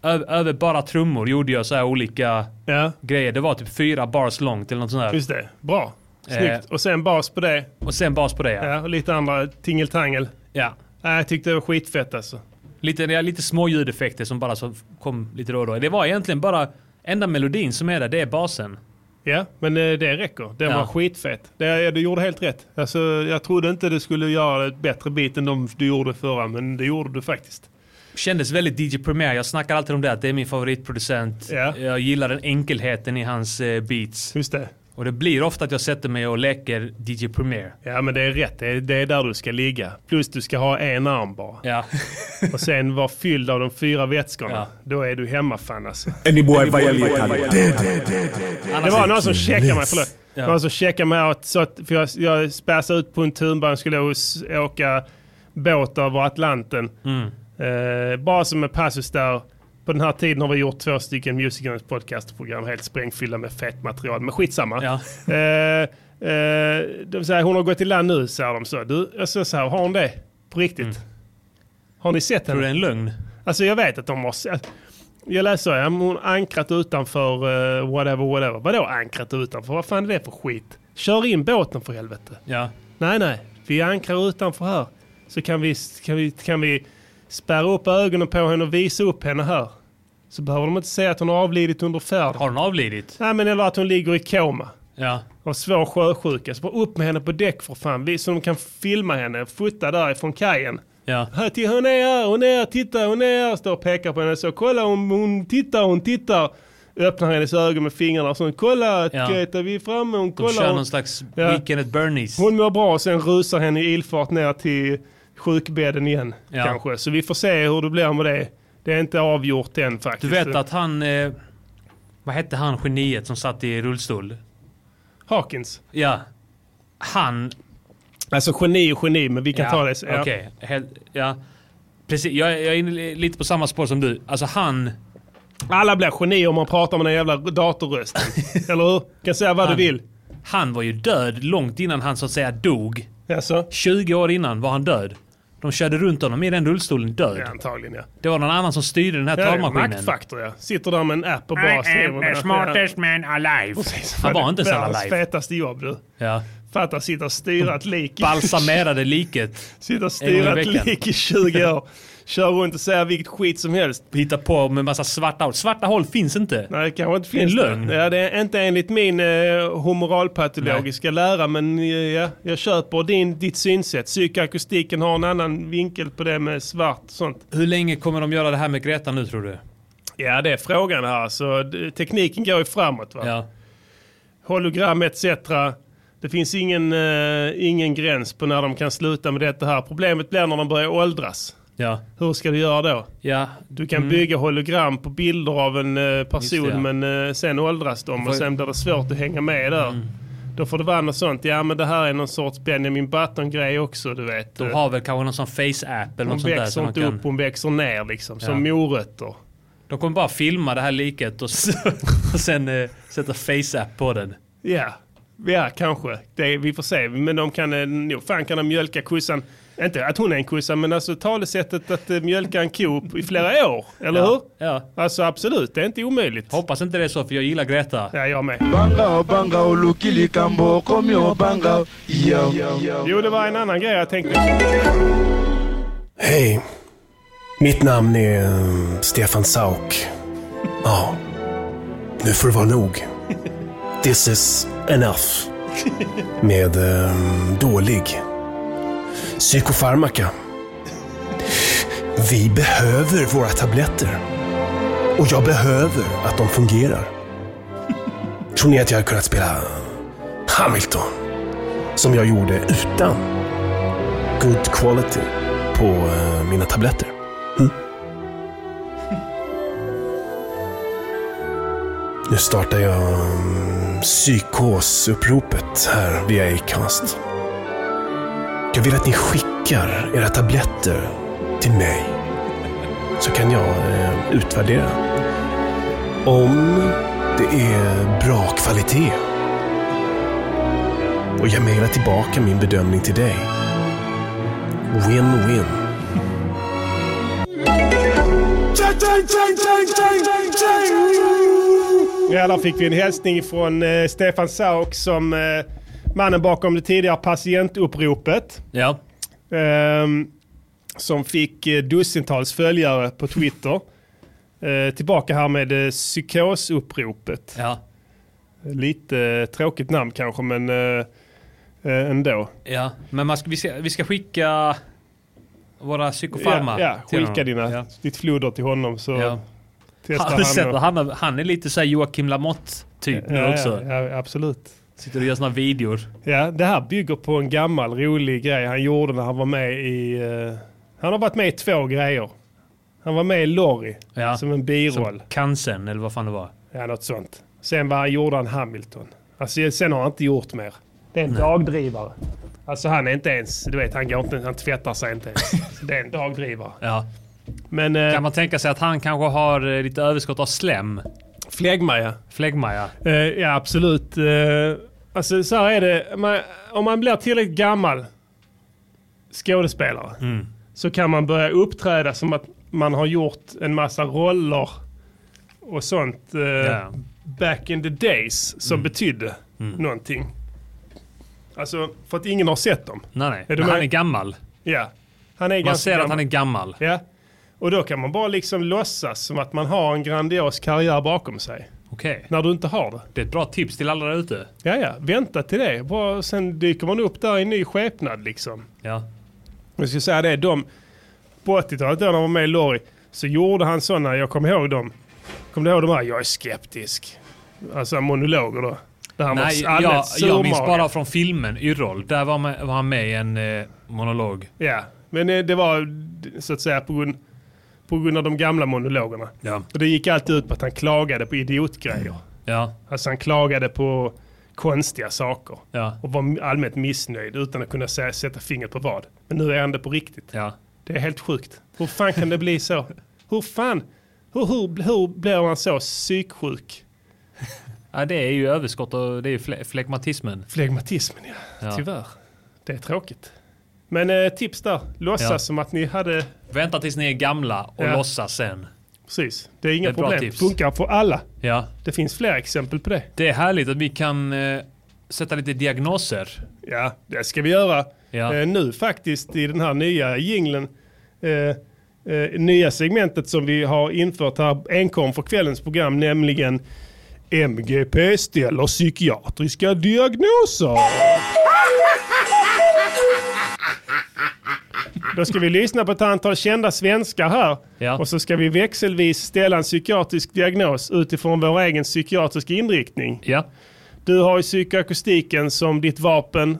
ö- över bara trummor gjorde jag så här olika
ja.
grejer. Det var typ fyra bars långt eller något sånt där.
Just det. Bra. Snyggt.
Eh.
Och sen bas på det.
Och sen bas på det ja.
Ja, och lite andra tingeltangel.
ja.
Nej, jag tyckte det var skitfett alltså.
Lite, ja, lite små ljudeffekter som bara så kom lite då och då. Det var egentligen bara, enda melodin som är där, det är basen.
Ja, men eh, det räcker. Den
Ja.
var skitfett. Det, ja, du gjorde helt rätt. Alltså, jag trodde inte du skulle göra ett bättre bit än de du gjorde förra, men det gjorde du faktiskt.
Kändes väldigt DJ Premier. Jag snackar alltid om det, att det är min favoritproducent.
Ja.
Jag gillar den enkelheten i hans eh, beats.
Just det.
Och det blir ofta att jag sätter mig och leker DJ Premier.
Ja, men det är rätt. Det är, det är där du ska ligga. Plus du ska ha en arm bara.
Ja.
Och sen vara fylld av de fyra vätskorna.
Ja.
Då är du hemma fan alltså.
Anyboy violate han.
Det var någon som checkade mig, förlåt. Det var någon som checkade mig och sa att, för jag, jag späsade ut på en tunbana skulle hos, åka båt över Atlanten.
Mm.
Eh, bara som en passus där. På den här tiden har vi gjort två stycken Music Guns podcastprogram helt sprängfyllda med fett material. Men skitsamma.
Ja.
Eh, eh, de säger hon har gått i land nu, säger de så. Du, jag sa så här, har hon det? På riktigt? Har ni sett
Mm. Tror
henne?
du det är en lögn?
Alltså jag vet att de har sett. Jag läser att hon ankrat utanför eh, whatever whatever. Vadå ankrat utanför? Vad fan är det för skit? Kör in båten för helvete.
Ja.
Nej nej, vi ankrar utanför här. Så kan vi, kan vi, kan vi spärra upp ögonen på henne och visa upp henne här. Så behöver de inte säga att hon har avlidit under färd.
Har hon avlidit?
Nej men eller att hon ligger i koma
Ja.
av svår sjösjuka. Så bara upp med henne på däck för fan. Vi- Så de kan filma henne, fota därifrån kajen.
Ja.
Här, till- Hon är här, hon är här, titta, hon är här. Står och pekar på henne så. Kolla, hon, hon tittar, hon tittar. Öppnar hennes ögon med fingrarna och så. Kolla,
Ja.
Greta, vi är framme. Hon,
De
kolla,
kör
hon,
någon slags
Ja.
Weekend at Bernies.
hon mår bra. Sen rusar henne i ilfart ner till sjukbädden igen.
Ja.
Kanske. Så vi får se hur det blir med det. Det är inte avgjort än
Du
faktiskt.
vet att han... Eh, vad hette han geniet som satt i rullstol?
Hawkins.
Ja. Han
Alltså geni och geni, men vi kan ta det sen. Ja.
Okej, Hel- ja. Precis, jag, jag är inne lite på samma spår som du. Alltså han,
Alla blir geni om man pratar med den jävla datorrösten. Eller hur? Kan säga vad
Han.
du vill.
han var ju död långt innan han så att säga dog.
Alltså.
20 år innan var han död. De körde runt honom i den rullstolen död.
Ja, antagligen ja.
Det var någon annan som styrde den här
Ja, ja,
travmaskinen.
maktfaktor ja. Sitter där med en app och bara skriver.
man alive.
Precis.
Han var inte ens
Världens
alive.
fetaste jobb du.
Ja.
Fatta sitta och styra ett lik.
Balsamerade liket.
Sitta och
En gång
styra
i
ett
veckan.
lik i 20 år. Kör runt och säga vilket skit som helst.
Hitta på med massa svarta hål. Svarta hål finns inte.
Nej, det kanske inte
är en
finns.
lögn.
Ja, det är inte enligt min eh, humoralpatologiska lära, men eh, ja, jag köper din, ditt synsätt. Psykoakustiken har en annan vinkel på det med svart och sånt.
Hur länge kommer de göra det här med Greta nu tror du?
Ja, det är frågan här. Så d- tekniken går ju framåt. Va?
Ja.
Hologram etc. Det finns ingen, eh, ingen gräns på när de kan sluta med detta här. Problemet blir när de börjar åldras.
Ja.
Hur ska du göra då?
Ja.
Du kan bygga hologram på bilder av en eh,
Mm.
person
Just det, ja.
men eh, sen åldras de och
Får- Mm.
sen blir det svårt att hänga med där. Då får det vara något sånt. Ja men det här är någon sorts Benjamin Button-grej också du vet.
De har väl kanske någon sån face-app eller
hon
något sånt där.
växer
Som
inte
de, kan,
upp, hon växer ner liksom. Som
Ja.
morötter.
de kommer bara filma det här liket och, s- och sen eh, sätta face-app på den.
Ja, ja kanske. Det, vi får se. Men de kan eh, nog, fan kan de mjölka kossan. Inte att hon är en kossa, men alltså talesättet att eh, mjölka en ko i flera år. Eller
Ja.
hur?
Ja.
Alltså absolut, det är inte omöjligt.
Hoppas inte det är så för jag gillar Greta.
Ja, jag med. Jo, det var en annan grej jag tänkte.
Hej. Mitt namn är eh, Stefan Sauk. Ja. Nu får det vara nog. This is enough. Med eh, dålig psykofarmaka. Vi behöver våra tabletter. Och jag behöver att de fungerar. Tror ni att jag hade kunnat spela Hamilton? Som jag gjorde utan good quality på eh, mina tabletter. Mm. Nu startar jag mm, psykosuppropet här via Acast. Jag vill att ni skickar era tabletter till mig. Så kan jag eh, utvärdera. Om det är bra kvalitet. Och jag mejlar tillbaka min bedömning till dig. Win-win.
Ja, där fick vi en hälsning från eh, Stefan Sauk som eh, mannen bakom det tidigare patientuppropet.
Ja.
Ehm, som fick eh, dussintals följare på Twitter. Eh, tillbaka här med eh, psykosuppropet.
Ja.
Lite eh, tråkigt namn kanske men eh, eh, ändå.
Ja. Men man ska, vi, ska, vi ska skicka våra psykofarma.
Ja, ja,
till
skicka
honom.
dina,
Ja.
ditt floder till honom så
Ja.
testar
Han,
han.
han,
och-
han, han är lite såhär Joakim Lamotte typ nu
Ja,
också.
ja, ja, absolut.
Sitter och gör såna videor.
Ja, det här bygger på en gammal rolig grej han gjorde när han var med i... eh, han har varit med i två grejer. Han var med i Lorry
Ja.
som en biroll.
Som cancern eller vad fan det var.
Ja, något sånt. Sen var han, gjorde han Hamilton. Alltså, sen har han inte gjort mer. Det är en dagdrivare. Alltså han är inte ens, du vet han går inte, han tvättar sig inte ens. Så det är en dagdrivare.
Ja.
Men
Kan
eh,
man tänka sig att han kanske har eh, lite överskott av slem?
flegma ja.
Flegma ja.
Eh, ja absolut. Eh, alltså så här är det, man, om man blir tillräckligt gammal skådespelare
Mm.
så kan man börja uppträda som att man har gjort en massa roller och sånt eh,
Ja. Mm.
back in the days som betydde någonting. Alltså för att ingen har sett dem.
Nej, nej.
Är du
Men han
med?
är gammal.
Ja. Han är
Man
ganska
ser att han är gammal.
Ja. Och då kan man bara liksom låtsas som att man har en grandios karriär bakom sig.
Okej.
När du inte har det.
Det är ett bra tips till alla där ute.
Ja, ja, vänta till det. Bara, sen dyker man upp där i ny skepnad liksom.
Ja.
Jag ska säga det, de, på 80-talet då när han var med i Lorry så gjorde han sådana, jag kommer ihåg dem. Kommer du ihåg de här, jag är skeptisk. Alltså monologer då. Där han
Nej,
var allmänt
jag, jag minns
surmagad.
bara från filmen Yrrol. Där var, man, var han med i en eh, monolog.
Ja, men eh, det var så att säga på grund, på grund av de gamla monologerna.
Ja.
Och det gick alltid ut på att han klagade på idiotgrejer.
Ja.
Alltså han klagade på konstiga saker.
Ja.
Och var allmänt missnöjd utan att kunna säga, sätta fingret på vad. Men nu är han det på riktigt.
Ja.
Det är helt sjukt. Hur fan kan det bli så? Hur fan? Hur, hur, hur blir man så psyksjuk?
ja. Det är ju överskott och det är ju fle- flegmatismen.
Flegmatismen ja.
Ja.
Tyvärr. Det är tråkigt. Men eh, tips där. Låtsas
Ja.
som att ni hade...
Vänta tills ni är gamla och
Ja.
låtsas sen.
Precis. Det är inga
Det är ett bra
problem.
tips.
Funkar för alla.
Ja.
Det finns fler exempel på det.
Det är härligt att vi kan eh, sätta lite diagnoser.
Ja, det ska vi göra. Eh, nu faktiskt i den här nya jinglen, eh, eh, nya segmentet som vi har infört här enkom för kvällens program, nämligen MGP ställer psykiatriska diagnoser. Då ska vi lyssna på ett antal kända svenskar här. Och så ska vi växelvis ställa en psykiatrisk diagnos utifrån vår egen psykiatriska inriktning. Du har ju psykoakustiken som ditt vapen.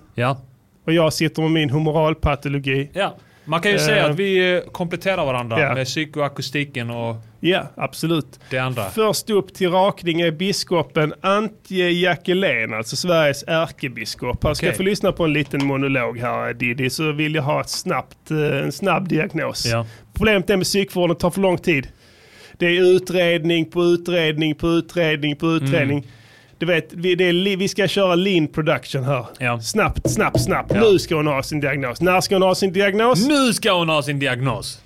Och jag sitter med min humoralpatologi.
Ja. Man kan ju
Eh,
säga att vi eh, kompletterar varandra
ja.
med psykoakustiken och
Ja, absolut.
det andra.
Först upp till rakning är biskopen Antje Jackelén, alltså Sveriges ärkebiskop. Här ska
Okej.
jag få lyssna på en liten monolog här Diddy, så vill jag ha ett snabbt, eh, en snabb diagnos.
Ja.
Problemet är med psykvården, tar för lång tid. Det är utredning på utredning på utredning på
Mm.
utredning. Du vet, vi, det är, li- vi ska köra lean production här. Snabbt, snabbt, snabbt. Nu ska hon ha sin diagnos. När ska hon ha sin diagnos?
Nu ska hon ha sin diagnos.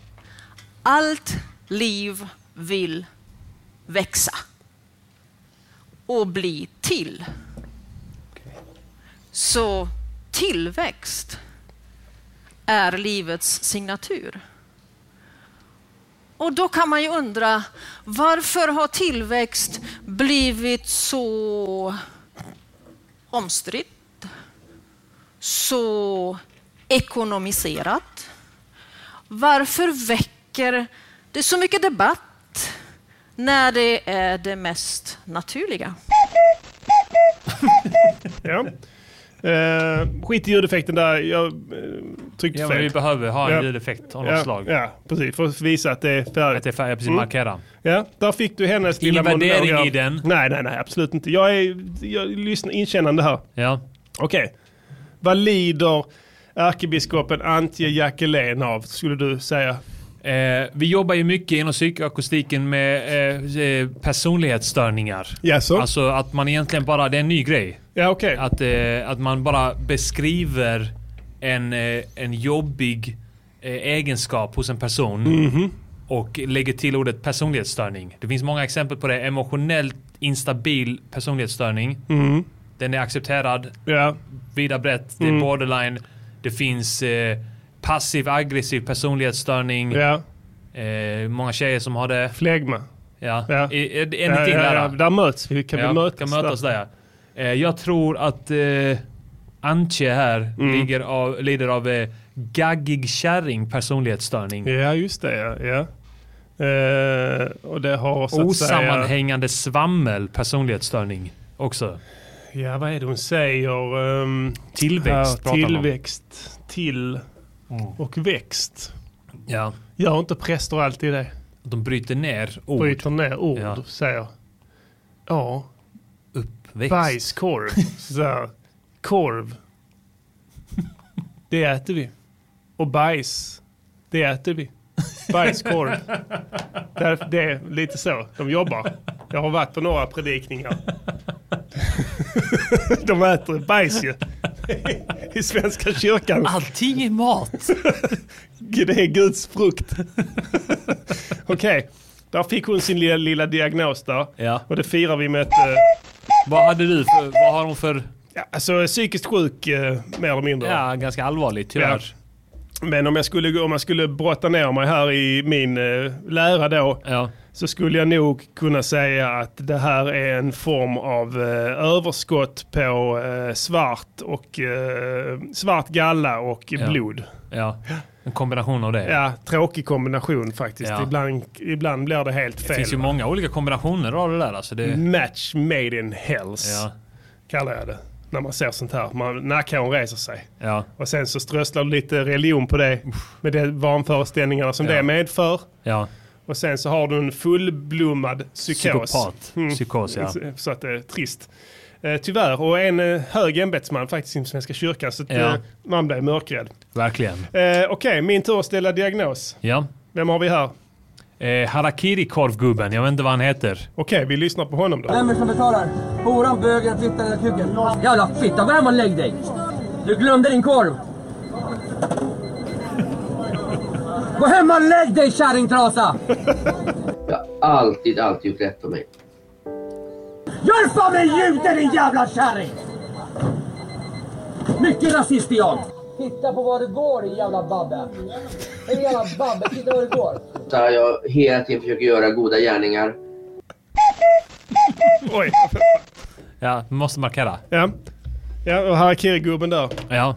Allt liv vill växa och bli till. Så tillväxt är livets signatur. Och då kan man ju undra varför har tillväxt blivit så omstritt, så ekonomiserat? Varför väcker det så mycket debatt när det är det mest naturliga?
Ja. Eh, skit i ljudeffekten där. Jag eh, tryckte
Ja,
fel.
men vi behöver ha en
Ja.
ljudeffekt av
ja.
något slag.
Ja, Mm. precis. För att visa att det är färdigt. Att det är
färdigt, precis. Markera.
Ja, där fick du hennes
Ingen
lilla monolog
värdering
här.
i den.
Nej, nej, nej. Absolut inte. Jag är jag lyssnar inkännande här.
Ja.
Okej. Vad lider ärkebiskopen Antje Jackelén av, skulle du säga?
Eh, vi jobbar ju mycket inom psykoakustiken med eh, eh, personlighetsstörningar.
Jaså?
Alltså att man egentligen bara, det är en ny grej.
Ja, okay.
att, eh, att man bara beskriver en, eh, en jobbig eh, egenskap hos en person
Mhm.
och lägger till ordet personlighetsstörning. Det finns många exempel på det. Emotionellt instabil personlighetsstörning.
Mm.
Den är accepterad.
Ja.
Vida brett. Det är
Mm.
borderline. Det finns eh, passiv aggressiv personlighetsstörning.
Ja.
Eh, många tjejer som har det.
Flegma.
Ja.
Ja.
I- i- Anything
Ja, ja,
där.
ja. Där möts vi. Kan
Ja,
vi mötas
kan mötas där. ja. Eh, jag tror att eh, Antje här
Mm.
ligger av, lider av eh, gaggig kärring personlighetsstörning.
Ja, just det. Ja. ja. Eh, och det har så att säga...
Osammanhängande svammel personlighetsstörning också.
Ja, vad är det hon säger? Ehm,
Tillväxt
här,
pratar man om. Mm.
Tillväxt, till och växt.
Ja.
Gör inte präster alltid det?
De bryter ner ord.
Bryter ner ord,
Ja.
säger. Ja.
Uppväxt.
Bajskorv. Så här. Korv. Det äter vi. Och bajs. Det äter vi. Bajskorv. Där, det är lite så de jobbar. Jag har varit på några predikningar. De äter bajs ju. I Svenska kyrkan.
Allting är mat.
Det är Guds frukt. Okej, där fick hon sin lilla, lilla diagnos där. Och det firar vi med ett... eh,
Vad hade du för... Vad har hon för...
Ja, alltså psykiskt sjuk eh, mer eller mindre.
Ja, ganska allvarligt tyvärr.
Men om jag skulle, om jag skulle brotta ner mig här i min eh, lära då. Så skulle jag nog kunna säga att det här är en form av eh, överskott på eh, svart och eh, svart galla och
Ja.
blod.
Ja. En kombination av det.
Ja, tråkig kombination faktiskt.
Ja.
Ibland, ibland blir det helt fel.
Det finns ju många olika kombinationer av det där. Alltså det...
Mm. Match made in hells.
Ja.
Kallar jag det. När man ser sånt här. Man, nackhåren reser sig.
Ja.
Och sen så strösslar du lite religion på det. Med de vanföreställningarna som
Ja.
det medför.
Ja.
Och sen så har du en fullblommad psykos. Mm.
Psykopat. Psykos, ja.
Så att det är trist. Eh, tyvär. Och en eh, hög ämbetsman faktiskt i Svenska kyrkan. Så att,
Ja.
eh, man blev mörkrädd.
Verkligen.
Eh, Okej, min tur att ställa diagnos.
Ja.
Vem har vi här?
Eh, Harakiri-korvgubben, jag vet inte vad han heter.
Okej, vi lyssnar på honom då.
Vem är det som betalar? Horan, bögen, fittan eller kuken? Jävla fitta, gå hem och lägg dig! Du glömde din korv! Gå hem och lägg dig kärringtrasa!
Alltid, alltid gjort rätt för mig.
Jag är fan en jude din jävla kärring! Mycket rasist är jag! Titta på vad det går i jävla babbe. Hej jävla babbe, titta vad det går.
Så här, jag hela tiden försöker göra goda gärningar.
Oj.
Ja, måste markera.
Ja. Ja, och harakiri-gubben där.
Ja.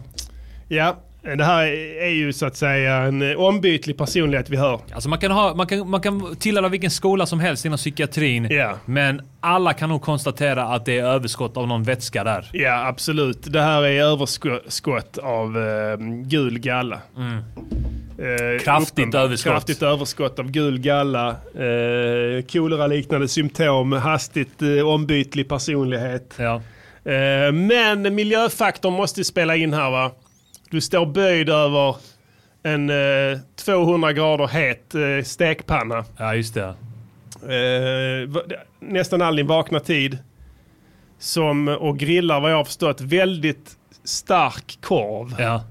Ja, det här är ju så att säga en eh, ombytlig personlighet vi hör.
Alltså man kan, ha, man kan, man kan tillhöra vilken skola som helst inom psykiatrin, men alla kan nog konstatera att det är överskott av någon vätska där.
Ja, absolut. Det här är överskott av eh, gul galla. Eh,
Mm. Kraftigt
uppenbar-
överskott.
Kraftigt överskott av gul galla, eh, kolera-liknande symptom, hastigt eh, ombytlig personlighet. Eh, men miljöfaktorn måste spela in här va? Du står böjd över en eh, 200 grader het eh, stekpanna.
Ja, just det.
Eh, va- det- nästan all din vakna tid. Som, och grillar vad jag har förstått väldigt stark korv.
Ja.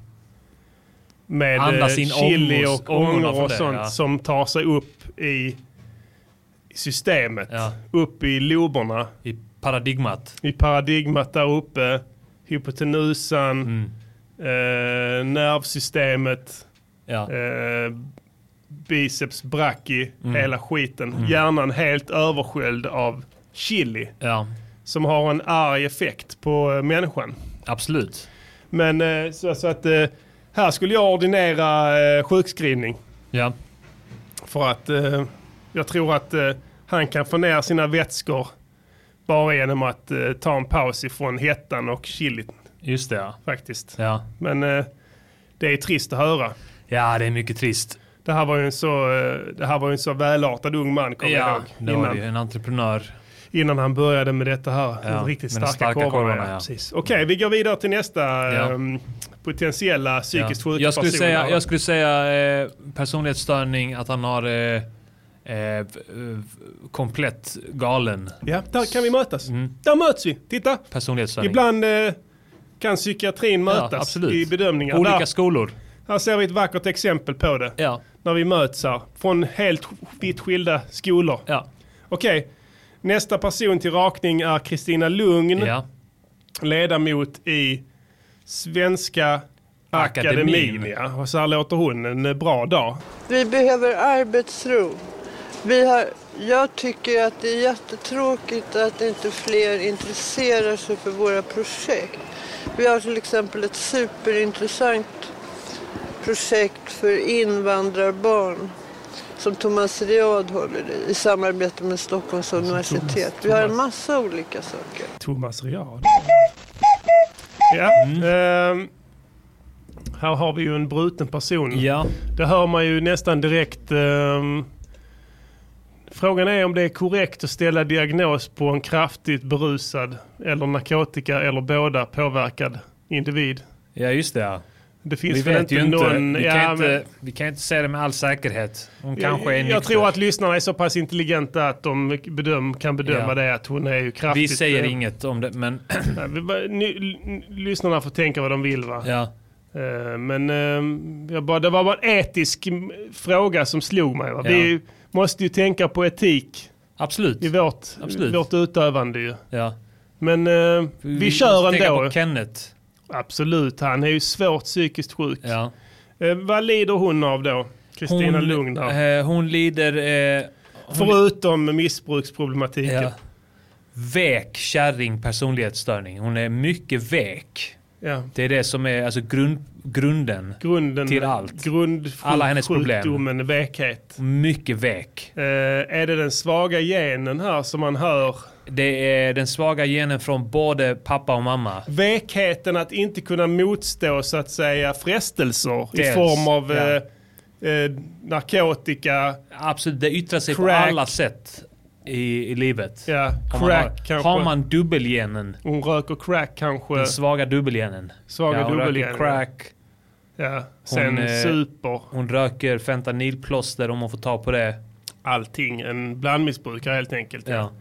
Med eh,
Andas in
chili
ångor-
och
ångorna
ångor
från
och
det,
sånt
ja.
som tar sig upp i systemet. Upp i loberna.
I paradigmat.
I paradigmat där uppe. Hypotenusan.
Mm.
Eh, nervsystemet. Eh, biceps bracci.
Mm.
Hela skiten.
Mm.
Hjärnan helt översköljd av chili. Som har en arg effekt på eh, människan.
Absolut.
Men eh, så, så att eh, här skulle jag ordinera eh, sjukskrivning.
Ja.
För att eh, jag tror att eh, han kan få ner sina vätskor bara genom att eh, ta en paus ifrån hettan och chilin.
Just det. Ja.
Faktiskt.
Ja.
Men eh, det är trist att höra.
Ja, det är mycket trist.
Det här var ju en så, eh, det här var ju en så välartad ung man, kommer jag
Ja,
ihåg.
det var det ju. En entreprenör.
innan han började med detta här.
Ja,
riktigt
med de
starka,
starka
korvarna.
korvarna,
ja.
ja. Mm.
Precis. Okej, vi går vidare till nästa
Ja.
ehm, potentiella psykiskt sjuka
jag skulle
personer.
säga, jag skulle säga eh, personlighetsstörning, att han har eh, eh, v- v- komplett galen
Ja, där kan vi mötas.
Mm.
Där möts vi. Titta!
personlighetsstörning.
Ibland eh, kan psykiatrin mötas
absolut.
i bedömningar.
Olika
Där-
skolor.
Här ser vi ett vackert exempel på det. När vi möts här. Från helt vitt skilda skolor. Okej. Nästa person till rakning är Kristina Lugn. Ledamot i Svenska Akademin.
Akademin.
ja. Och så här låter hon. En eh, bra dag.
Vi behöver arbetsro. Vi har, jag tycker att det är jättetråkigt att inte fler intresserar sig för våra projekt. Vi har till exempel ett superintressant projekt för invandrarbarn som Thomas Riad håller i, i samarbete med Stockholms universitet. Vi har en massa olika saker.
Thomas Riard. Ja.
Mm.
ehm, här har vi ju en bruten person.
Ja.
Det hör man ju nästan direkt. ehm, frågan är om det är korrekt att ställa diagnos på en kraftigt berusad eller narkotika eller båda påverkad individ.
Ja, just det. Ja.
Det finns
vi
väl
vet
inte
ju inte.
någon-
vi,
ja,
kan
men-
inte vi kan inte säga det med all säkerhet. Hon kanske är
jag, jag
nykter.
tror att lyssnarna är så pass intelligenta att de bedöm, kan bedöma
Ja.
det att hon är ju kraftigt...
Vi säger
eh,
inget om det, men...
Nej, vi bara- ni- l- Lyssnarna får tänka vad de vill va?
Ja.
Eh, Men eh, jag bara, det var bara en etisk m- fråga som slog mig. Va? Vi
Ja.
måste ju tänka på etik.
Absolut.
I vårt,
Absolut.
vårt utövande ju.
Ja.
Men eh, vi, kör
måste tänka
ändå.
på Kenneth.
Absolut, han är ju svårt psykiskt sjuk.
Ja.
Eh, vad lider hon av då? Kristina
Hon-
Lugn där.
eh, hon lider... Eh, hon-
Förutom missbruksproblematiken.
Ja. Väk kärring personlighetsstörning. Hon är mycket väk.
Ja.
Det är det som är alltså grund, grunden,
grunden
till allt.
Grund,
Alla hennes problem.
Sjukdomen väkhet.
Mycket väk.
är det den svaga genen här som man hör?
Det är den svaga genen från både pappa och mamma.
Väkheten att inte kunna motstå så att säga frestelser i
Dels,
form av
ja.
eh, eh, narkotika.
Absolut, det yttrar sig
Crack.
på alla sätt i, i livet.
Ja,
Om man
crack
har,
kanske.
Har man dubbelgenen,
Hon röker crack kanske.
den svaga dubbelgenen.
Svaga
Ja, hon röker
dubbelgenen.
crack.
Ja. Sen
eh,
super.
Hon röker fentanylplåster om hon får ta på det.
Allting. En blandmissbrukare helt enkelt.
Ja.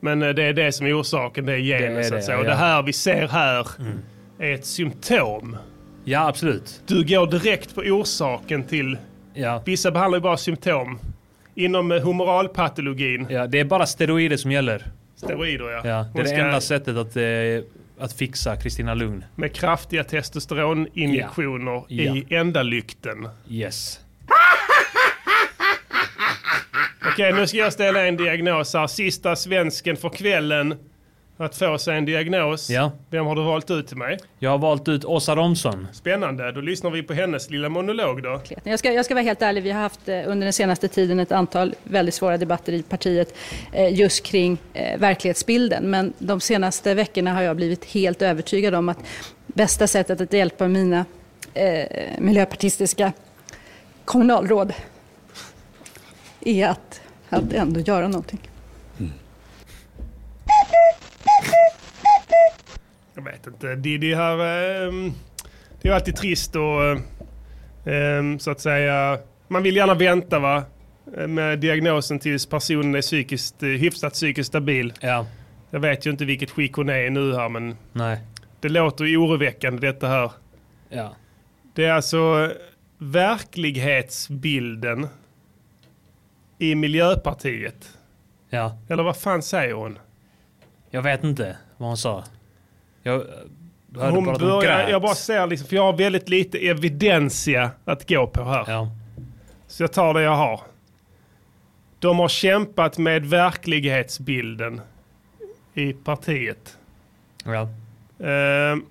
Men eh, det är det som är orsaken, det är genen
Det är
så att
det,
säga. Och
ja. Mm.
det här vi ser här är ett symptom.
Ja, absolut.
Du går direkt på orsaken till... Vissa behandlar ju bara symptom. Inom eh, humoralpatologin.
Ja, det är bara steroider som gäller.
Steroider ja.
Ja, det
Hon
är det
ska-
enda sättet att eh, att fixa Kristina Lugn.
Med kraftiga testosteroninjektioner
Ja.
i ändalykten.
Yes.
Okej, nu ska jag ställa en diagnos här. Sista svensken för kvällen att få sig en diagnos.
Ja.
Vem har du valt ut till mig?
Jag har valt ut Åsa Romson.
Spännande, då lyssnar vi på hennes lilla monolog då.
Jag ska, jag ska vara helt ärlig, vi har haft eh, under den senaste tiden ett antal väldigt svåra debatter i partiet eh, just kring eh, verklighetsbilden. Men de senaste veckorna har jag blivit helt övertygad om att bästa sättet att hjälpa mina eh, miljöpartistiska kommunalråd är att, att ändå göra någonting.
Jag vet inte, Diddy har... ehm, det är ju alltid trist och ehm, så att säga... Man vill gärna vänta va? Med diagnosen tills personen är psykiskt, eh, hyfsat psykiskt stabil.
Ja.
Jag vet ju inte vilket skick hon är i nu här men...
Nej.
Det låter ju oroväckande detta här.
Ja.
Det är alltså verklighetsbilden i Miljöpartiet.
Ja.
Eller vad fan säger hon?
Jag vet inte vad hon sa. Jag eh, hörde
Hon
bara att hon
börjar,
grät.
jag bara ser liksom, för jag har väldigt lite evidensia att gå på här. Så jag tar det jag har. De har kämpat med verklighetsbilden i partiet.
Ja.
Ehm,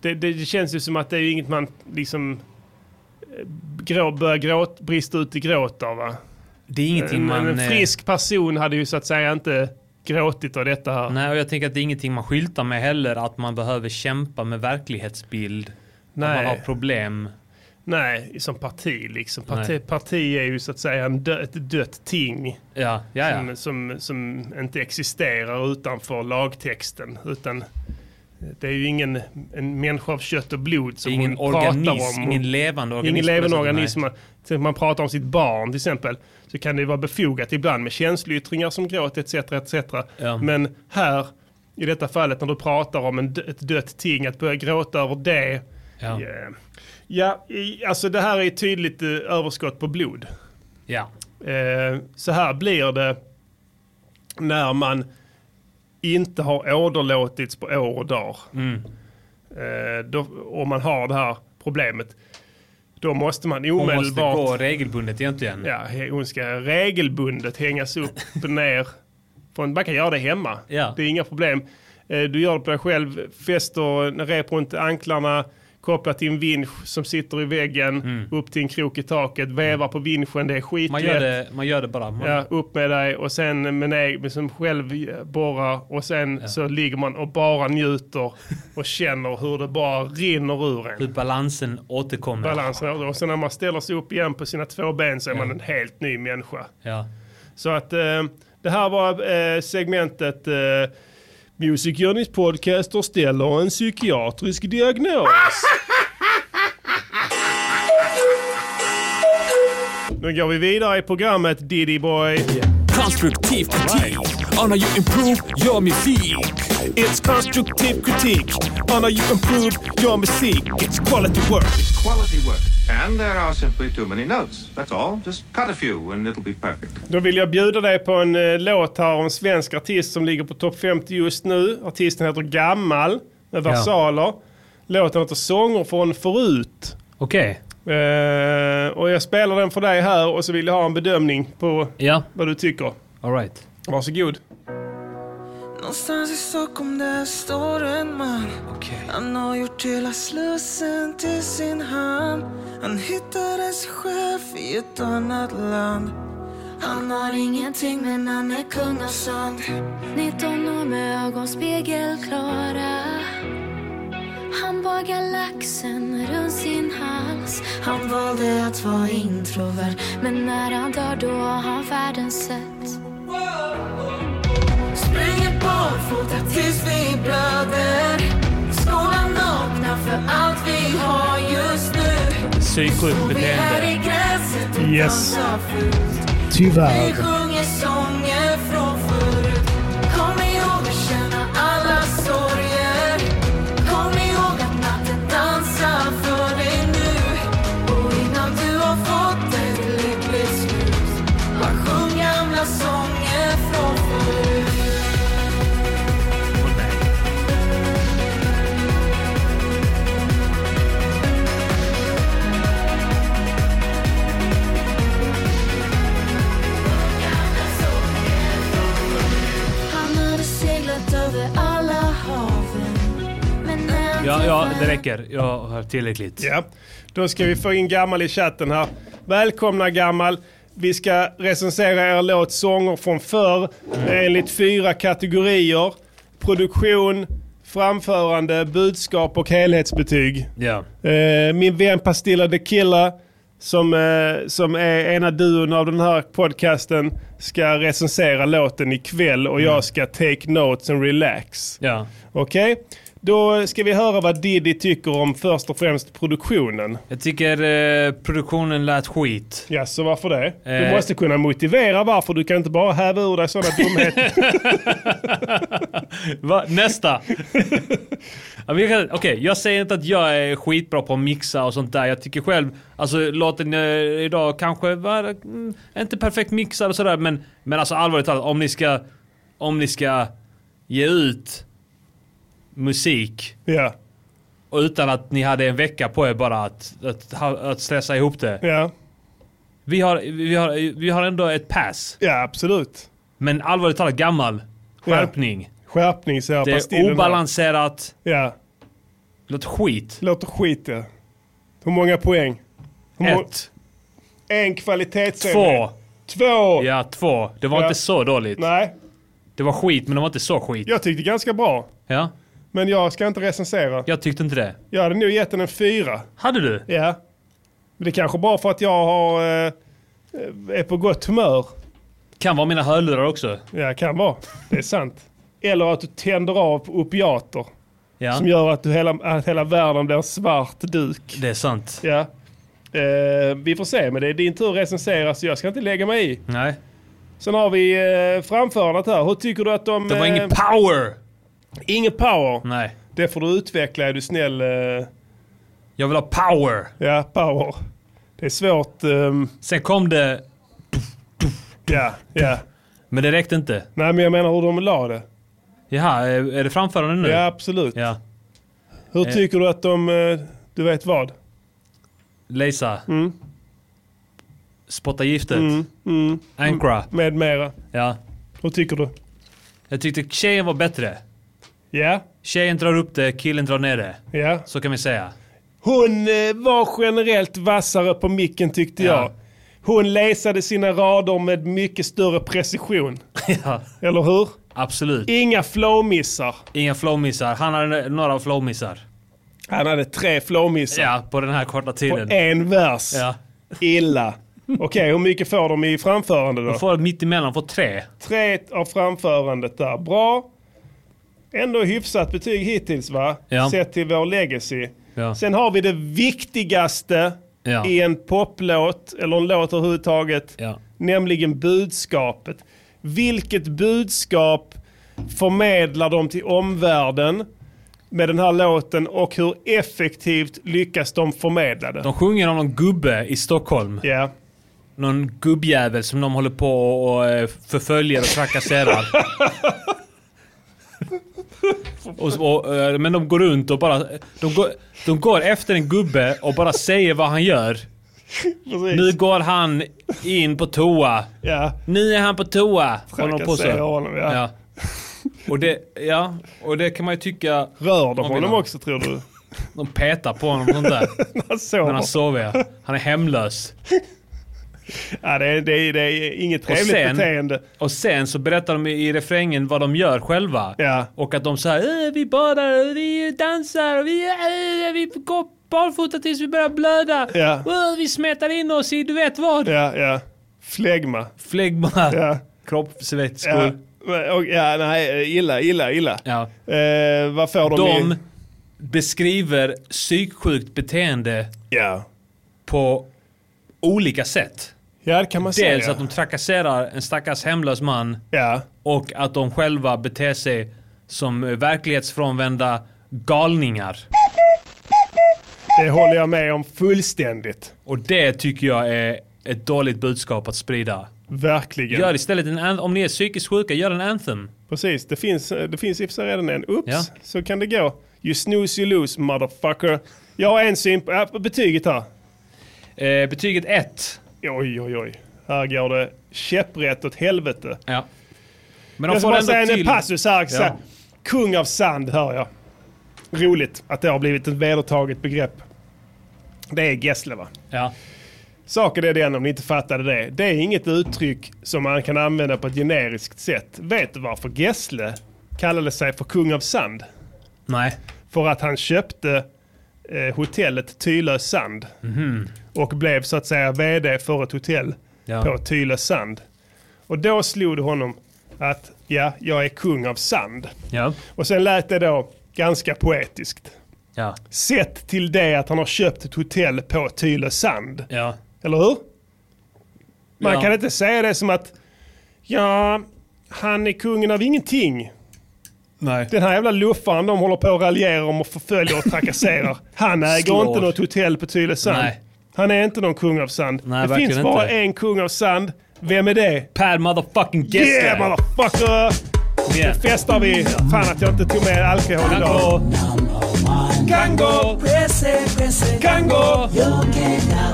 det, det, det känns ju som att det är ju inget man liksom eh, grå, börjar gråt, brista ut i gråt av va?
Det är ingenting
en,
man,
En
eh,
frisk person hade ju så att säga inte gråtit av detta här.
Nej, och jag tänker att det är ingenting man skyltar med heller, att man behöver kämpa med verklighetsbild. Att
Nej.
man har problem.
Nej, som parti liksom. Parti,
Nej.
parti är ju så att säga en dö, ett dött ting.
Ja, ja, ja.
Som, som, som inte existerar utanför lagtexten. Utan det är ju ingen en människa av kött och blod som
Ingen
hon pratar
organism,
om.
ingen levande organism
Ingen
på det
levande
sättet,
organism. Man, till exempel man pratar om sitt barn till exempel. Så kan det vara befogat ibland med känsloyttringar som gråt etc. etc.
Ja.
Men här, i detta fallet när du pratar om en, dö- ett dött ting, att börja gråta över det.
Ja.
Ja, i, alltså det här är ett tydligt eh, överskott på blod.
Ja.
Eh, så här blir det när man inte har åderlåtits på år och dagar.
Mm.
Eh, då, om man har det här problemet. Då måste man
Hon
omedelbart...
måste gå regelbundet egentligen.
Ja, he- hon ska regelbundet hängas upp och ner. Från, man kan göra det hemma.
Ja.
Det är inga problem. Eh, Du gör det på dig själv. Fäster rep runt anklarna. Koppla till en vinsch som sitter i väggen. Upp till en krok i taket. Vevar på vinschen. Det är skitlätt.
Mm. Man, gör det, man gör det bara. Man,
Ja, upp med dig och sen med nej, men som själv borrar och sen så ligger man och bara njuter och känner hur det bara rinner ur en.
Hur balansen återkommer.
Balansen över det. och sen när man ställer sig upp igen på sina två ben så är man en helt ny människa.
Ja.
Så att eh, det här var eh, segmentet eh, Music Journeys podcaster ställer en psykiatrisk diagnos. Nu går vi vidare i programmet Diddy Boy.
Konstruktiv kritik. On how you improve your music.
It's constructive critique on how you improve your music. It's quality work.
Quality work. And there are simply too many notes. That's all. Just cut a few and it'll be perfect.
Då vill jag bjuda dig på en eh, låt här om en svensk artist som ligger på topp 50 just nu. Artisten heter Gammal med
Ja.
versaler. Låten heter Sånger från förut.
Okej.
Eh, och jag spelar den för dig här och så vill jag ha en bedömning på vad du tycker.
All right.
Varsågod.
Någonstans i Stockholm där står en man Han har gjort hela Slussen till sin hamn Han hittade sig chef i ett annat land
Han har ingenting men han är kung av sånt 19 år med ögon spegelklara Han bagar laxen runt sin hals Han valde att vara introvert Men när han dör då har han världen sett
Springer barfota tills vi blöder Skolan öppnar för allt vi har just nu
Psyksjukt
Vi här i
beteende.
gräset och
Yes.
dansar fullt Vi sjunger sånger från förut Kom ihåg att känna alla sorger Kom ihåg att natten dansar för dig nu Och innan du har fått ett lyckligt slut Bara sjung gamla sånger från förut
svävat över alla haven. Men ändå
Ja, ja, det räcker. Jag har tillräckligt.
Ja, då ska vi få in Gammal i chatten här. Välkomna Gammal. Vi ska recensera er låt Sånger från förr enligt fyra kategorier. Produktion, framförande, budskap och helhetsbetyg.
Ja.
Eh, min vän Pastilla de Killa, som, eh, som är ena duon av den här podcasten, ska recensera låten ikväll och jag ska take notes and relax.
Ja.
Okej, då ska vi höra vad Diddy tycker om först och främst produktionen.
Jag tycker eh, produktionen lät skit.
Ja, så varför det? Du
Eh.
måste kunna motivera varför. Du kan inte bara häva ur dig sådana dumheter.
Va? Nästa! Ja, men jag kan- Okej, jag säger inte att jag är skitbra på att mixa och sånt där. Jag tycker själv, alltså låten eh, idag kanske var mm, inte perfekt mixad och sådär. Men, men alltså allvarligt talat, om ni ska, om ni ska ge ut musik
Ja.
och utan att ni hade en vecka på er bara att, att, ha- att stressa ihop det.
Ja.
Vi har, vi, har, vi har ändå ett pass.
Ja, absolut.
Men allvarligt talat, gammal. Skärpning.
Skärpning säger
Det
Pastillen
är
här.
obalanserat.
Ja.
Låter skit.
Låter skit ja. Hur många poäng? Hur må-
Ett.
En kvalitetsenhet.
Två.
Två!
Ja, två. Det var
Ja.
inte så dåligt.
Nej.
Det var skit, men det var inte så skit.
Jag tyckte ganska bra.
Ja.
Men jag ska inte recensera.
Jag tyckte inte det.
Jag hade nog gett den en fyra.
Hade du?
Ja. Men det kanske bara för att jag har, eh, är på gott humör.
Kan vara mina hörlurar också.
Ja, kan vara. Det är sant. Eller att du tänder av på opiater.
Ja.
Som gör att, du hela, att hela världen blir en svart duk.
Det är sant.
Ja. Eh, vi får se, men det är din tur att recensera så jag ska inte lägga mig i.
Nej.
Sen har vi eh, framförandet här. Hur tycker du att de...
Det var
eh,
ingen power!
Ingen power?
Nej.
Det får du utveckla är du snäll. eh.
Jag vill ha power!
Ja, power. Det är svårt. ehm.
Sen kom det...
Ja, ja.
Men det räckte inte.
Nej, men jag menar hur de la det.
Jaha, är är det framförande nu?
Ja, absolut.
Mm. Ja.
Hur
Eh.
tycker du att de... eh, du vet vad?
Lisa.
Mm.
Spotta giftet.
Mm, mm.
Ankra.
Med mera.
Ja.
Hur tycker du?
Jag tyckte tjejen var bättre.
Ja.
Tjejen drar upp det, killen drar ner det.
Ja.
Så kan vi säga.
Hon eh, var generellt vassare på micken tyckte
Ja.
jag. Hon läsade sina rader med mycket större precision. Eller hur?
Absolut.
Inga flowmissar.
Inga flowmissar. Han hade några flowmissar.
Han hade tre flowmissar.
Ja, på den här korta tiden.
På en vers.
Ja.
Illa. Okej, hur mycket får de i framförande då?
De får mitt emellan, får tre.
Tre av framförandet där. Bra. Ändå hyfsat betyg hittills va?
Ja.
Sett till vår legacy.
Ja.
Sen har vi det viktigaste
Ja.
i en poplåt, eller en låt överhuvudtaget, nämligen budskapet. Vilket budskap förmedlar de till omvärlden med den här låten och hur effektivt lyckas de förmedla det?
De sjunger om någon gubbe i Stockholm.
Ja.
Någon gubbjävel som de håller på och, och eh, förföljer och trakasserar. och, så- och, eh, men de går runt och bara... De går, de går efter en gubbe och bara säger vad han gör.
Precis.
Nu går han in på toa.
Ja.
Nu är han på toa. håller de på så.
Trakasserar honom, ja.
ja. Och det, ja, och det kan man ju tycka...
Rör
man
de
vill
honom
ha.
också tror du?
De petar på honom och sånt där.
Han sover.
Men alltså, han sover ja. Han är hemlös.
Ja, det, är, det, är, det är inget
Och
trevligt
sen-
beteende.
Och sen så berättar de i refrängen vad de gör själva. Och att de säger vi badar, vi dansar, vi, eh, vi går barfota tills vi börjar blöda.
Ja.
Eh, vi smetar in oss i du vet vad.
Ja, ja. Flegma.
Flegma.
Ja.
Kroppsvätskor.
Ja, men- och, ja, nej, illa, illa, illa.
Ja.
Eh, vad får de,
De
i?
beskriver psyksjukt beteende på olika sätt.
Ja, det kan man säga.
Dels att de trakasserar en stackars hemlös man. Och att de själva beter sig som eh, verklighetsfrånvända galningar.
Det håller jag med om fullständigt.
Och det tycker jag är ett dåligt budskap att sprida.
Verkligen.
Gör istället en an- om ni är psykiskt sjuka, gör en anthem.
Precis, det finns, det finns i och för sig redan en. Oops,
Ja.
så kan det gå. You snooze you lose motherfucker. Jag har en syn på äh, betyget här.
Eh, betyget 1.
Oj, oj, oj. Här går det käpprätt åt helvete.
Ja. Men
jag ska bara säga en passus här.
Ja.
Ja. Kung av sand hör jag. Roligt att det har blivit ett vedertaget begrepp. Det är Gessle va?
Ja.
Saken är den om ni inte fattade det. Det är inget uttryck som man kan använda på ett generiskt sätt. Vet du varför Gessle kallade sig för kung av sand?
Nej.
För att han köpte eh, hotellet Tylös sand.
Mhm.
Och blev så att säga vd för ett hotell
Ja.
på Tylös sand. Och då slog det honom att ja, jag är kung av sand.
Ja.
Och sen lät det då ganska poetiskt.
Ja.
Sett till det att han har köpt ett hotell på Tylös sand.
Ja.
Eller hur? Man
Ja.
kan inte säga det som att ja, han är kungen av ingenting.
Nej.
Den här jävla luffaren de håller på och raljerar om och förföljer och trakasserar. Han äger
Slår.
inte något hotell på Tylös sand.
Nej.
Han är inte någon kung av sand.
Nej,
det
verkligen
finns bara
inte.
en kung av sand. Vem är det?
Per motherfucking Gessle.
Yeah motherfucker!
Yeah.
Nu festar vi. Fan att jag inte tog med alkohol idag.
Kan gå, presse, presse,
kan gå.
Jag kan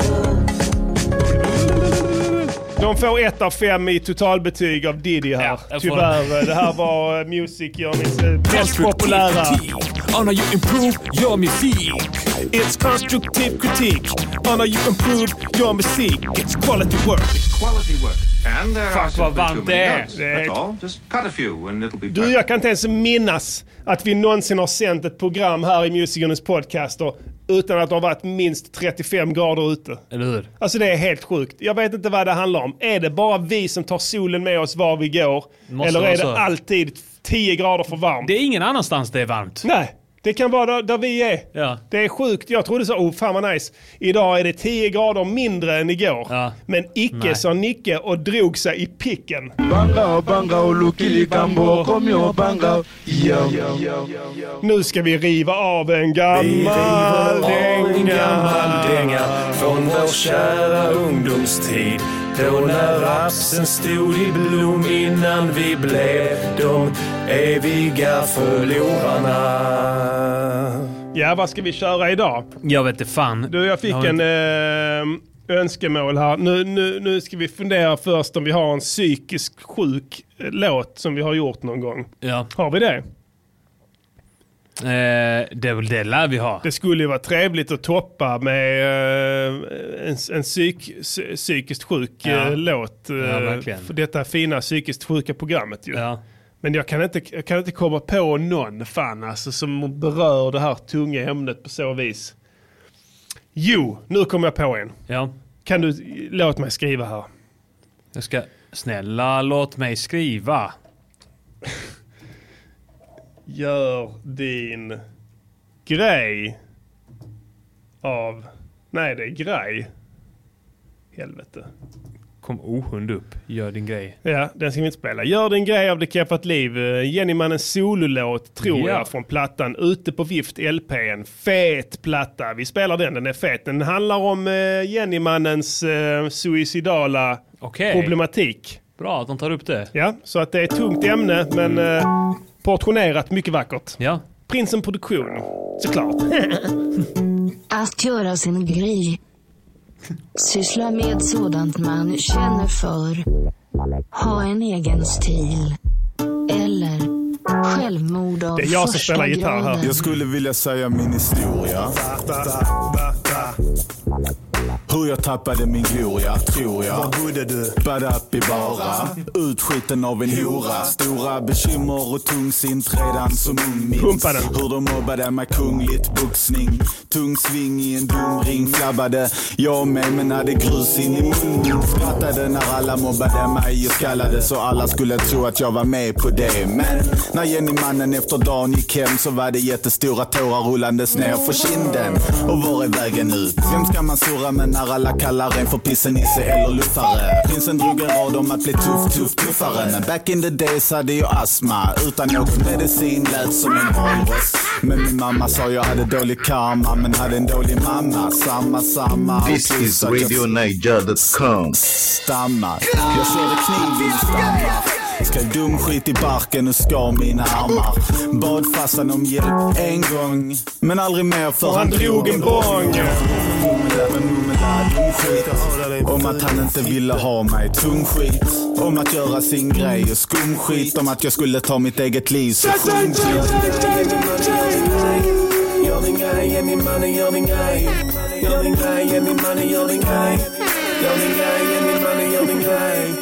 De får ett av fem i totalbetyg av Diddy här.
jag får
Tyvärr.
det.
Det här var eh, Music Journeys eh, mest populära.
Konstruktiv kritik on how you improve your music. It's constructive critique on how you improve your music. It's quality work.
Quality work. And there are
Fuck, vad
simply too
varmt
many
det är.
notes.
Det är
That's
helt-
all. Just cut a few and it'll be
Du, jag kan inte ens minnas att vi någonsin har sänt ett program här i Music Journeys podcaster utan att det har varit minst 35 grader
Eh,
ute.
Eller hur?
Alltså det är helt sjukt. Jag vet inte vad det handlar om. Är det bara vi som tar solen med oss var vi går?
Måste
eller
vara
är det
så.
alltid 10 grader för varmt?
Det är ingen annanstans det är varmt.
Nej, det kan vara där, där vi är.
Ja.
Det är sjukt. Jag trodde så, oh fan vad nice. Idag är det 10 grader mindre än igår. Men icke
Nej.
sa Nicke och drog sig i picken.
Banga, banga, olukili kambo, kom yo, banga, yo, yo, yo.
Nu ska vi riva av en gammal
En
dänga.
gammal dänga från vår kära ungdomstid. Då när rapsen stod i blom innan vi blev de eviga förlorarna.
Ja, vad ska vi köra idag?
Jag vet inte fan.
Du, jag fick
Jag vet
en eh, önskemål här. Nu, nu, nu ska vi fundera först om vi har en psykisk sjuk eh, låt som vi har gjort någon gång.
Ja.
Har vi det?
Eh, det är väl det lär vi ha.
Det skulle ju vara trevligt att toppa med eh, en, en psyk, psy- psykiskt sjuk eh,
Ja.
låt. eh,
Ja, verkligen.
för detta fina psykiskt sjuka programmet ju. Men jag kan, inte, jag kan inte komma på någon fan alltså, som berör det här tunga ämnet på så vis. Jo, nu kommer jag på en.
Ja.
Kan du, låt mig skriva här.
Jag ska... Snälla låt mig skriva.
Gör din grej av... Nej, det är grej. Helvete.
Kom ohund upp. Gör din grej.
Ja, den ska vi inte spela. Gör din grej av Det Keppat Liv. Eh, Jennymannens sololåt, tror
Ja.
jag, från plattan Ute på vift LPn. Fet platta. Vi spelar den, den är fet. Den handlar om eh, Jennymannens eh, suicidala
Okej.
problematik.
Bra att de tar upp det.
Ja, så att det är ett tungt ämne, men eh, portionerat mycket vackert.
Ja.
Prinsen Produktion, såklart.
Att göra sin grej. Syssla med sådant man känner för. Ha en egen stil. Eller självmord av första graden.
Jag skulle vilja säga min historia. Hur jag tappade min gloria, tror jag. Var bodde du? Badapivara. Utskjuten av en hora. Stora bekymmer och tungsint redan som ung minns.
Pumpade.
Hur de mobbade mig kungligt boxning. Tung sving i en domring flabbade. Jag med men hade grus in i munnen. Skrattade när alla mobbade mig och skallade så alla skulle tro att jag var med på det. Men när Jenny-mannen efter dagen gick hem så var det jättestora tårar rullandes ner för kinden. Och var är vägen ut? Vem ska man surra med när alla kallar en för pissenisse eller luffare? Prinsen drog en rad om att bli tuff, tuff, tuffare. Men back in the days hade jag astma. Utan något medicin lät som en valross. Men min mamma sa jag hade dålig karma, men hade en dålig mamma. Samma, samma.
This is RadioNiger.com.
Stammar. Jag körde kniv i stammar. Skrev dum skit i barken och skar mina armar. Bad farsan om hjälp en gång, men aldrig mer för
Och han drog en bång.
Mumla, mumla, här dum skit Om att han inte ville ha mig. Tung skit. Om att göra sin grej och skum skit. Om att jag skulle ta mitt eget liv. Så sjung
Gör din grej, Jenny mannen, gör din grej. Gör din grej, Jenny mannen, gör din grej. Gör din grej, Jenny mannen, gör din grej.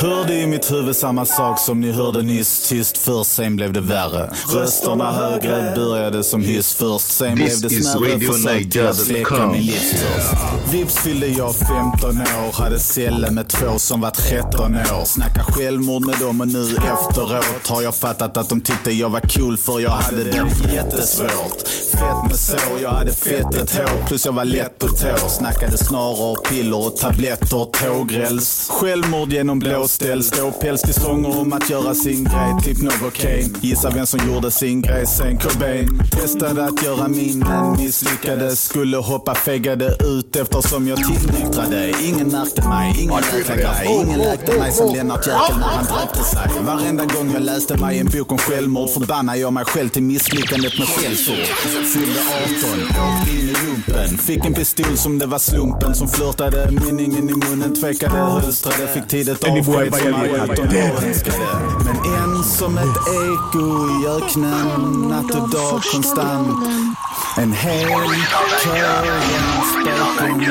Hörde i mitt huvud samma sak som ni hörde nyss. Tyst först, sen blev det värre. Rösterna högre började som hyss först. Sen
This
blev det
is
smärre
Radio
försök till att
Niger
släcka
dot com.
min livstörst. Vips fyllde jag 15 år. Hade celler med två som var 13 år. Snacka självmord med dem och nu efteråt har jag fattat att de tyckte jag var cool för jag hade det jättesvårt. Fett med sår, jag hade fettet hår. Plus jag var lätt på tå. Snackade snarare piller och tabletter och tågräls. Självmord genom blåställ. Ståpäls till sånger om att göra sin grej. Typ något Kane. Gissa vem som gjorde sin grej sen Cobain. Testade att göra min men misslyckades. Skulle hoppa fegade ut eftersom jag tillnyktrade. Ingen märkte mig, ingen läkte mig. Ingen läkte mig som Lennart Jäkel när han dräpte sig. Varenda gång jag läste mig en bok om självmord förbannade jag mig själv till misslyckandet med skällsord. Fyllde 18, åkte in i lumpen. Fick en pistol som det var slumpen som flörtade. Mynningen i munnen tvekade, hölstrade. Fick tidigt Andy Boy avsked var som jävla alla jävla 17 år jävla önskade. Men en som ett eko i öknen, natt och dag konstant. En hel kör bakom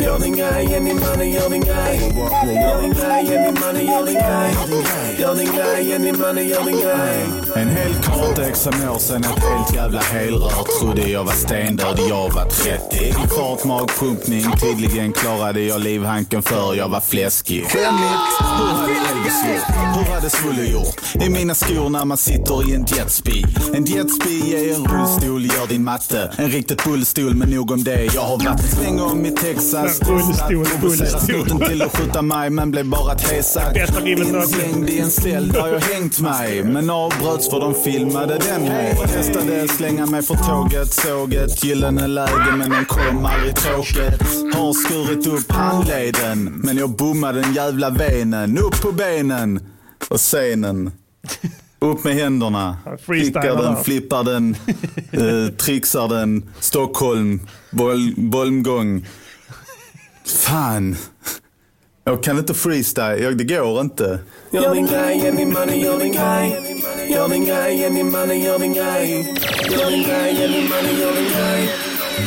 Gör din grej, Jenny mannen, gör din grej. Gör din grej, Jenny mannen, gör din grej. Gör din grej, Jenny mannen, gör din grej.
En hel kartex som år sen ett helt jävla helrör Trodde jag var stendöd, jag var 30 Fart, magpumpning, tydligen klarade jag livhanken för jag var fläskig Skämmigt, hur hade Elvis gjort? Hur hade Svullo gjort? I mina skor när man sitter i en jetspi En jetspi är en rullstol, gör din matte En riktigt bullstol, men nog om det Jag har varit en sväng om i Texas
Bullstol,
Provocerat
bullstol.
snutten till att skjuta mig men blev bara tresad Inslängd i en cell där jag hängt mig Men avbröts för de filmade den mig Testade slänga mig för tåget, såg ett gyllene läge men den kom aldrig tråket Har skurit upp handleden men jag bommade den jävla venen Upp på benen och scenen upp med händerna,
freestylar
kickar den,
där.
flippar den, eh, trixar den, Stockholm, boll, bollmgång. Fan. Jag kan inte freestyle. Jag, det går inte.
Gör din grej, Jenny mannen, gör din grej. Gör din grej, Jenny mannen, gör din grej. Gör din grej, Jenny mannen, gör din grej.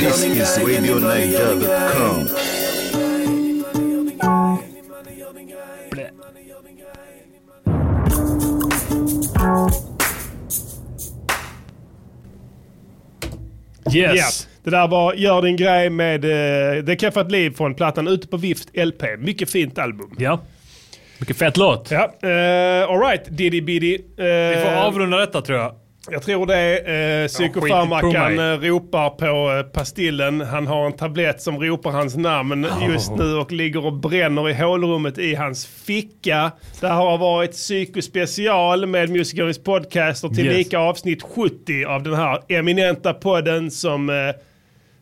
Gör
This
din
is
grej, Jenny mannen, gör din grej.
RadioNiger.com.
Yes.
Det där var Gör din grej med eh, Det kan få ett liv från plattan ute på Vift LP. Mycket fint album.
Ja. Mycket fett låt.
Ja. Uh, Alright, Diddy Biddy. eh,
Vi får avrunda detta tror jag.
Jag tror det är eh, psykofarmakan eh, ropar på eh, pastillen. Han har en tablett som ropar hans namn just nu och ligger och bränner i hålrummet i hans ficka. Det här har varit psykospecial med Musikerns podcaster till
Yes.
lika avsnitt 70 av den här eminenta podden som eh,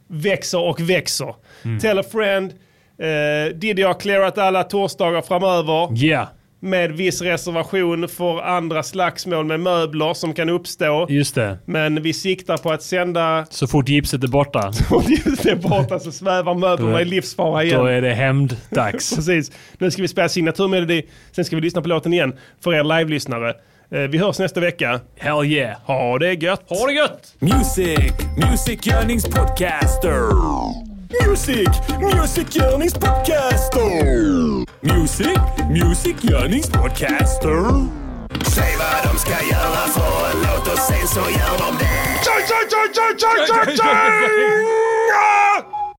växer och växer.
Mm.
Tell a friend. Eh, Diddy har clearat alla torsdagar framöver.
Yeah.
Med viss reservation för andra slagsmål med möbler som kan uppstå.
Just det.
Men vi siktar på att sända...
Så fort gipset är borta.
Det är borta så svävar möblerna i livsfara igen.
Då är det hämnddags.
Precis. Nu ska vi spela signaturmelodi, sen ska vi lyssna på låten igen för er live-lyssnare. Eh, Vi hörs nästa vecka.
Hell yeah!
Ha det gött! Ha
det gött!
Music, musikgörningspodcaster. Music, musikgörningspodcaster. Music, musikgörningspodcaster.
Säg vad de ska göra för en låt och sen så gör de det.
Tjej, tjej, tjej, tjej, tjej, tjej!
Ja!